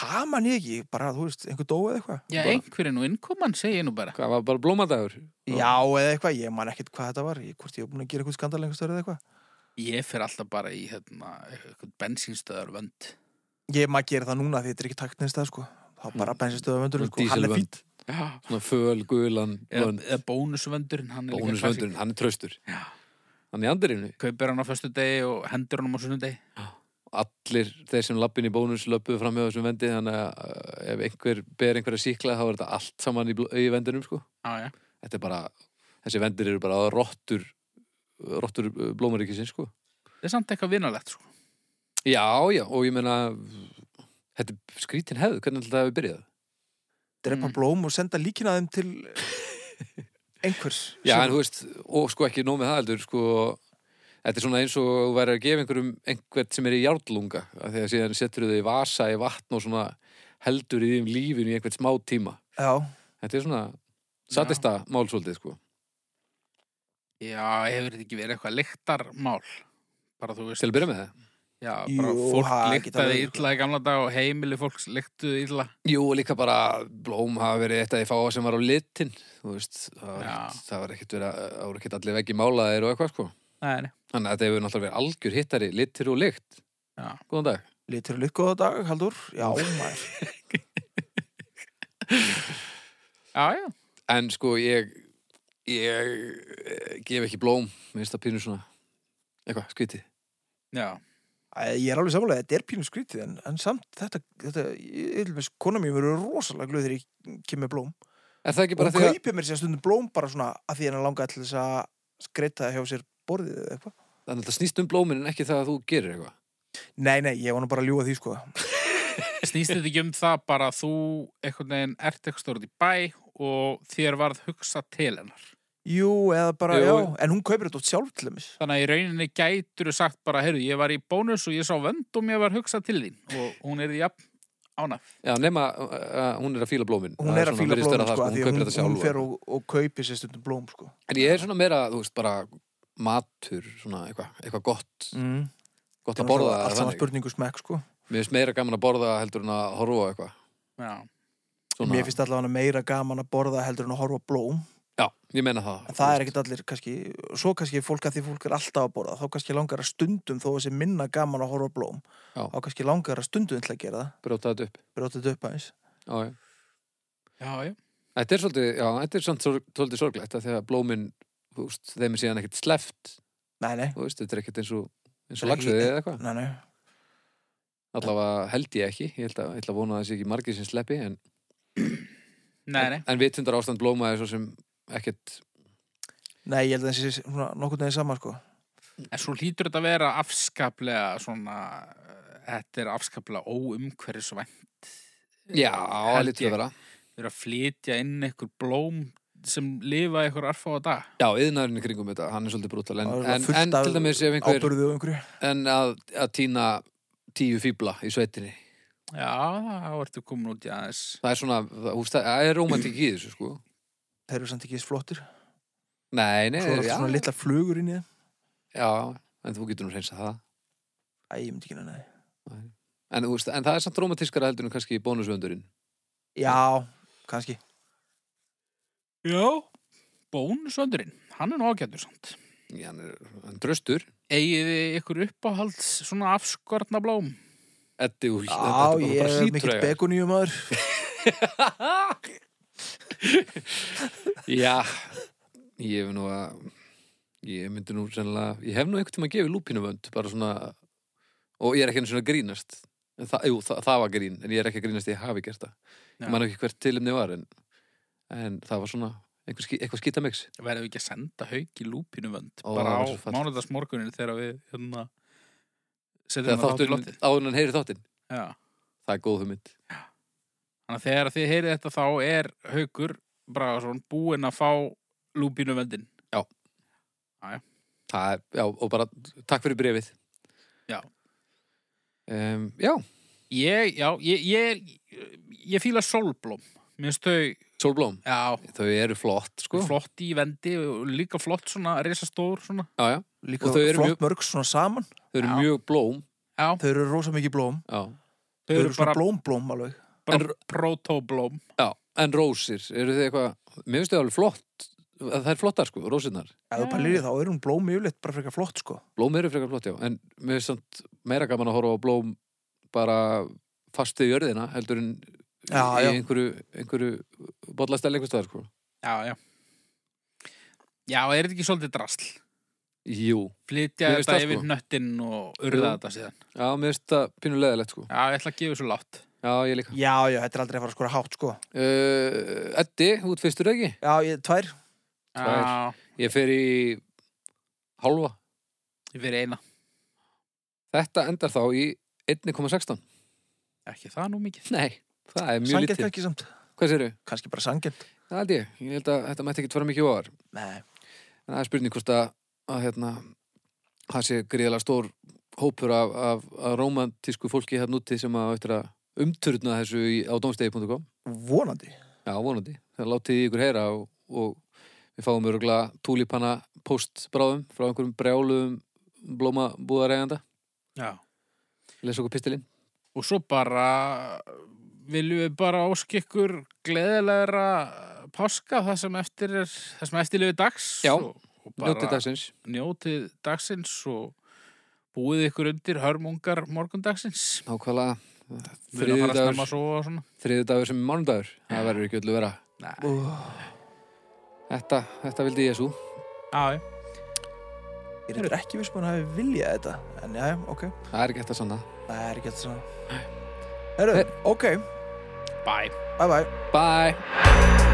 Speaker 3: Það man ég ekki, bara, þú veist, einhver dói eða eitthvað.
Speaker 1: Já,
Speaker 2: Bara-
Speaker 1: einhverju nú innkoman, segi ég nú bara.
Speaker 2: Hvað var bara blómadagur?
Speaker 3: Já, eða eitthvað, ég man ekkert hvað þetta var, ég, hvort ég er búin að gera eitthvað skandal einhver stöður eða eitthvað.
Speaker 1: Ég fer alltaf bara í, hérna, eitthvað bensínstöðar vönd.
Speaker 3: Ég maður gera það núna því þetta er ekki takt neðst að, sko. Það var bara bensinstöðu vöndurinn, sko, hann er fínt.
Speaker 2: Dísilvönd,
Speaker 1: Já.
Speaker 2: svona föl, gulan,
Speaker 1: Eða,
Speaker 2: vönd,
Speaker 1: eða bónusvöndurinn, hann er líka
Speaker 2: bónusvöndurinn, hann er traustur.
Speaker 1: Já.
Speaker 2: Hann er í andirinu.
Speaker 1: klassik. Kaupir hann á föstu degi og hendur hann á sunnu degi.
Speaker 2: Allir þeir sem lappin í bónus löpuðu fram hjá þessum vendi, þannig að uh, ef einhver ber einhverja síkla, þá er þetta allt saman í, bl- í vendinum, sko.
Speaker 1: Já, já.
Speaker 2: Þetta er bara, þessi vendir eru bara rottur, rottur blómaríkisins, sko.
Speaker 1: Það er samt eitthvað vinalegt, sko.
Speaker 2: Já, já, og ég meina, þetta er skrítin hefð, hvernig alltaf hefur byrjað?
Speaker 3: Drepa
Speaker 1: Mm.
Speaker 3: blóm og senda líkina þeim til einhvers.
Speaker 2: Já,
Speaker 3: sem-
Speaker 2: en þú veist, og sko ekki nóg með það heldur, sko, þetta er svona eins og þú væri að gefa einhverjum einhvert sem er í járnlunga, af því að síðan setur þau í vasa í vatn og svona heldur í þeim lífinu í einhvert smá tíma.
Speaker 3: Já,
Speaker 2: Þetta er svona satista málsóldið, sko.
Speaker 1: Já, hefur þetta ekki verið eitthvað lyktarmál? Bara þú veist,
Speaker 2: Til að byrja með það.
Speaker 1: já, bara
Speaker 3: Jú,
Speaker 1: fólk
Speaker 3: ha, geta
Speaker 1: lyktaði
Speaker 3: verið, sko.
Speaker 1: illa í gamla dag og heimili fólks lyktuði illa.
Speaker 2: Jú, og líka bara blóm hafa verið eitt af því fáa sem var á litin, þú veist, það var
Speaker 1: Já.
Speaker 2: ekkert- það var ekkert verið að, það voru ekkert allir veggi málaðir og eitthvað, sko.
Speaker 1: Nei, nei.
Speaker 2: Þannig að þetta hefur náttúrulega verið algjör hittari, litir og lykt.
Speaker 1: Já.
Speaker 2: Góðan dag.
Speaker 3: litur og lykkoða dag, Haldur. Já, maður.
Speaker 1: Já, já.
Speaker 2: En sko, ég, ég eh, gef ekki blóm, minnst það pínu svona, eitthvað, skviti.
Speaker 1: Já,
Speaker 3: Æ, Ég er alveg samanlega, þetta er pínum skrítið en, en samt þetta, þetta ég ég til dæmis, kona mér verður rosalega glöð þegar ég kem með blóm
Speaker 2: Er það ekki
Speaker 3: og
Speaker 2: bara því að
Speaker 3: kaupir mér sér stundum blóm bara svona að því hennar langaði til þess að skreita hjá sér borðið eða eitthvað
Speaker 2: þannig að það snýst um blómin en ekki það að þú gerir eitthvað?
Speaker 3: Nei, nei, ég var nú bara að ljúga því sko
Speaker 1: snýst þetta ekki um það bara að þú einhvern veginn ert eitthvað stórt í bæ og þér varð hugsa til hennar.
Speaker 3: Jú, eða bara,
Speaker 2: Jú.
Speaker 3: já, en hún kaupir þetta oft sjálf til þeimis
Speaker 1: Þannig að í rauninni gætur þú sagt bara, heyrðu, ég var í bónus og ég sá vönd og mér var hugsað til þín og hún er því jafn ánaf.
Speaker 2: Já, nema uh, uh, hún er að fíla blómin.
Speaker 3: Hún
Speaker 2: Það
Speaker 3: er að
Speaker 2: svona-
Speaker 3: fíla
Speaker 2: virðist
Speaker 3: blóm
Speaker 2: vera það,
Speaker 3: sko,
Speaker 2: Hún
Speaker 3: af því að
Speaker 2: kaupir
Speaker 3: hún,
Speaker 2: þetta
Speaker 3: hún
Speaker 2: sjálf.
Speaker 3: fer og, og kaupir sér stundum blóm sko
Speaker 2: En ég er svona meira, þú veist, bara matur, svona eitthvað, eitthvað gott,
Speaker 3: mm.
Speaker 2: gott að borða.
Speaker 3: Allt
Speaker 2: eða
Speaker 3: saman
Speaker 2: þannig.
Speaker 3: spurningu smekk sko
Speaker 2: Mér finnst meira gaman að borða heldur en að horfa á eitthvað.
Speaker 1: Já.
Speaker 2: Svona,
Speaker 3: Mér finnst allavega meira gaman að borða heldur en að horfa á blóm
Speaker 2: Já, ég meina það.
Speaker 3: En það er ekkert allir, kannski, svo kannski fólk að því fólk er alltaf að borða, þá kannski langar að stundum þó þessi minna gaman að horfa á blóm
Speaker 2: Já.
Speaker 3: þá kannski langar að stundum til að gera það,
Speaker 2: Brjóta þetta upp.
Speaker 3: brjóta þetta upp aðeins
Speaker 2: Já, já.
Speaker 1: Já, já.
Speaker 2: Þetta er svolítið, já, þetta er samt sorg- svolítið sorglegt að þegar blómin, þú veist, þeim er síðan ekkert sleft,
Speaker 3: Nei, nei,
Speaker 2: þú veist, þetta er ekkert eins og, eins og
Speaker 3: Þetta er ekki-
Speaker 2: lagsuðið eða eitthvað.
Speaker 3: nei, nei
Speaker 2: Allavega held ég ekki, ég held að, ég held að vona að það sé ekki margir sem sleppi, en,
Speaker 1: Nei, nei.
Speaker 2: en, en vitundar ástand blóma er svo sem ekkert,
Speaker 3: Nei, ég held að þessi nokkurn veginn sama sko
Speaker 1: En svo hlýtur þetta að vera afskaplega svona, eh, þetta er afskaplega óumhverfisvænt.
Speaker 2: já,
Speaker 1: Held
Speaker 2: það lítur
Speaker 1: ég.
Speaker 2: að vera.
Speaker 1: Við erum að flytja inn einhver blóm sem lifa einhver arfa á dag.
Speaker 2: Já, yðnaðurinn í kringum þetta, hann er svolítið brútal, en,
Speaker 3: Það er
Speaker 2: en,
Speaker 3: fullt
Speaker 2: en
Speaker 3: af
Speaker 2: til dæmis ef einhver,
Speaker 3: Ábyrðu og einhverju
Speaker 2: en að, að týna tíu fýbla í sveitinni,
Speaker 1: Já, þá ertu komin út í aðeins.
Speaker 2: það er svona, það, þú veist, það er romantík í þessu, sko.
Speaker 3: Þeir eru samt ekki eins flottir
Speaker 2: Nei, nei,
Speaker 3: Svo er alltaf
Speaker 2: Eh, já,
Speaker 3: svona litla flugur inn í þeim
Speaker 2: já, en þú getur nú reynsað það.
Speaker 3: Æ, ég myndi ekki neina því
Speaker 2: En, þú veist, en það er samt romantískara heldur en kannski bónusvöndurinn.
Speaker 3: Já, kannski
Speaker 1: Já. Bónusöndurinn, hann er nú ágættur samt.
Speaker 2: Já, hann er hann er draustur.
Speaker 1: Egið þið ykkur uppáhalds svona afskorna blóm?
Speaker 2: Eddi úr,
Speaker 3: Já, ég er mikill begoníum aður
Speaker 2: Já, ég hef nú að, ég myndi nú sennilega, ég hef nú einhvern tíma að gefa lúpinuvönd, bara svona, og ég er ekki einu svona að grínast. En Það, jú, það, það var grín, en ég er ekki að grínast, ég hafi gert það.
Speaker 1: Já.
Speaker 2: Ég man ekki hvert tilumni var, en, en það var svona, einhver, skí- eitthvað skítamix.
Speaker 1: Verðum við ekki að senda haug í lúpinu vönd
Speaker 2: Ó,
Speaker 1: bara á
Speaker 2: það væri svo fallegt.
Speaker 1: mánudagsmorgunin þegar við hérna setjum
Speaker 2: Þegar
Speaker 1: það þátt í
Speaker 2: þáttur,
Speaker 1: lottið.
Speaker 2: áður en hann heyri þáttinn.
Speaker 1: Já.
Speaker 2: Það er góð hugmynd.
Speaker 1: Þannig að þegar þið heyrið þetta þá er Haukur Bragason búinn að fá lúpínu vendin.
Speaker 2: Það er, já, og bara takk fyrir brefið.
Speaker 1: Já.
Speaker 2: Um, já,
Speaker 1: Ég, já, ég, ég, er- ég fíla sólblóm. Mér finnst þau,
Speaker 2: Solblóm,
Speaker 1: já,
Speaker 2: þau eru flott, sko.
Speaker 1: flott í vendi og líka flott svona, risastór svona.
Speaker 2: Já, já,
Speaker 3: Líka
Speaker 2: Og þau eru
Speaker 3: flott
Speaker 2: mjög-
Speaker 3: mörg svona saman
Speaker 2: þau eru
Speaker 1: Já.
Speaker 2: mjög blóm.
Speaker 1: Já,
Speaker 3: Þau eru rosa mikið blóm
Speaker 2: Já.
Speaker 1: þau
Speaker 3: Þau
Speaker 1: eru
Speaker 3: eru svona
Speaker 1: bara
Speaker 3: blóm blóm alveg
Speaker 1: bara protoblóm.
Speaker 2: já, en rósir, eru þau eitthvað, mér finnst þau alveg flott, það er flottar, sko, rósirnar.
Speaker 3: Ef
Speaker 1: Já.
Speaker 3: þú
Speaker 2: Eh.
Speaker 3: pælir í því, þá er hún blóm yfirleitt bara frekar flott sko
Speaker 2: Blóm eru frekar flott, já, en mér finnst samt meira gaman að horfa á blóm bara fastu í jörðina, heldur en
Speaker 3: Já,
Speaker 2: í
Speaker 3: já.
Speaker 2: einhverju, einhverju bollastæli einhvers staðar, sko.
Speaker 1: Já, já. Já, er þetta ekki svolítið drasl?
Speaker 2: Jú,
Speaker 1: Flytja
Speaker 2: Mér finnst
Speaker 1: þetta
Speaker 2: það, sko.
Speaker 1: yfir nöttinn og urða þetta síðan.
Speaker 2: já, mér finnst það pínulegilegt, sko.
Speaker 1: Já, ég ætla að gefa þessu látt.
Speaker 2: Já, ég líka.
Speaker 3: Já, já, þetta er aldrei að fara að skora hátt sko
Speaker 2: Uh, Eddi, út fyrstur ekki?
Speaker 3: Já, ég, tvær
Speaker 2: Tvær.
Speaker 1: Já,
Speaker 2: Ég fer í halva.
Speaker 1: ég fyrir eina.
Speaker 2: Þetta endar þá í 1,16.
Speaker 1: Ekki það nú mikið.
Speaker 2: Nei, það er mjög
Speaker 3: Sangjönd
Speaker 2: lítið.
Speaker 3: kannski samt
Speaker 2: Hvað séru?
Speaker 3: Kannski bara sangjönd
Speaker 2: Það held ég. Ég held að þetta mætti ekki tvara mikið ofar.
Speaker 3: Nei,
Speaker 2: En það er spurning hvort að, að hérna, það sé gríðlega stór hópur af, af, af romantísku fólki hérna úti sem að eftir að umturna þessu í, á domstegi.com.
Speaker 3: vonandi
Speaker 2: Já, vonandi. Það látið í ykkur heyra og, og við fáum öruglega túlipana postbráðum frá einhverjum brjáluðum blómabúðareganda.
Speaker 1: Já.
Speaker 2: Lesa okkur pistilinn.
Speaker 1: Og svo bara viljum við bara ósk ykkur gleðilegra páska það sem eftir er, það sem eftir lifi dags
Speaker 2: Já,
Speaker 1: og, og bara
Speaker 2: Njótið dagsins.
Speaker 1: njótið dagsins og búið ykkur undir hörmungar morgundagsins
Speaker 2: Nákvæmlega.
Speaker 1: fyrir að fara að
Speaker 2: Þriðjudagur-
Speaker 1: snemma svo og svona
Speaker 2: þriði dagur sem er mánudagur það verður ekki öllu vera
Speaker 1: Nei,
Speaker 3: Úh.
Speaker 2: þetta, þetta vildi Jésu
Speaker 1: já, já.
Speaker 3: Ég er reyndar ekki viss búin að hafi viljað þetta. En já, ok.
Speaker 2: Það er ekki eftir sanna.
Speaker 3: Nei, það er ekki alltaf svona. Herru, ok.
Speaker 1: Bye.
Speaker 3: Bye bye.
Speaker 2: Bye!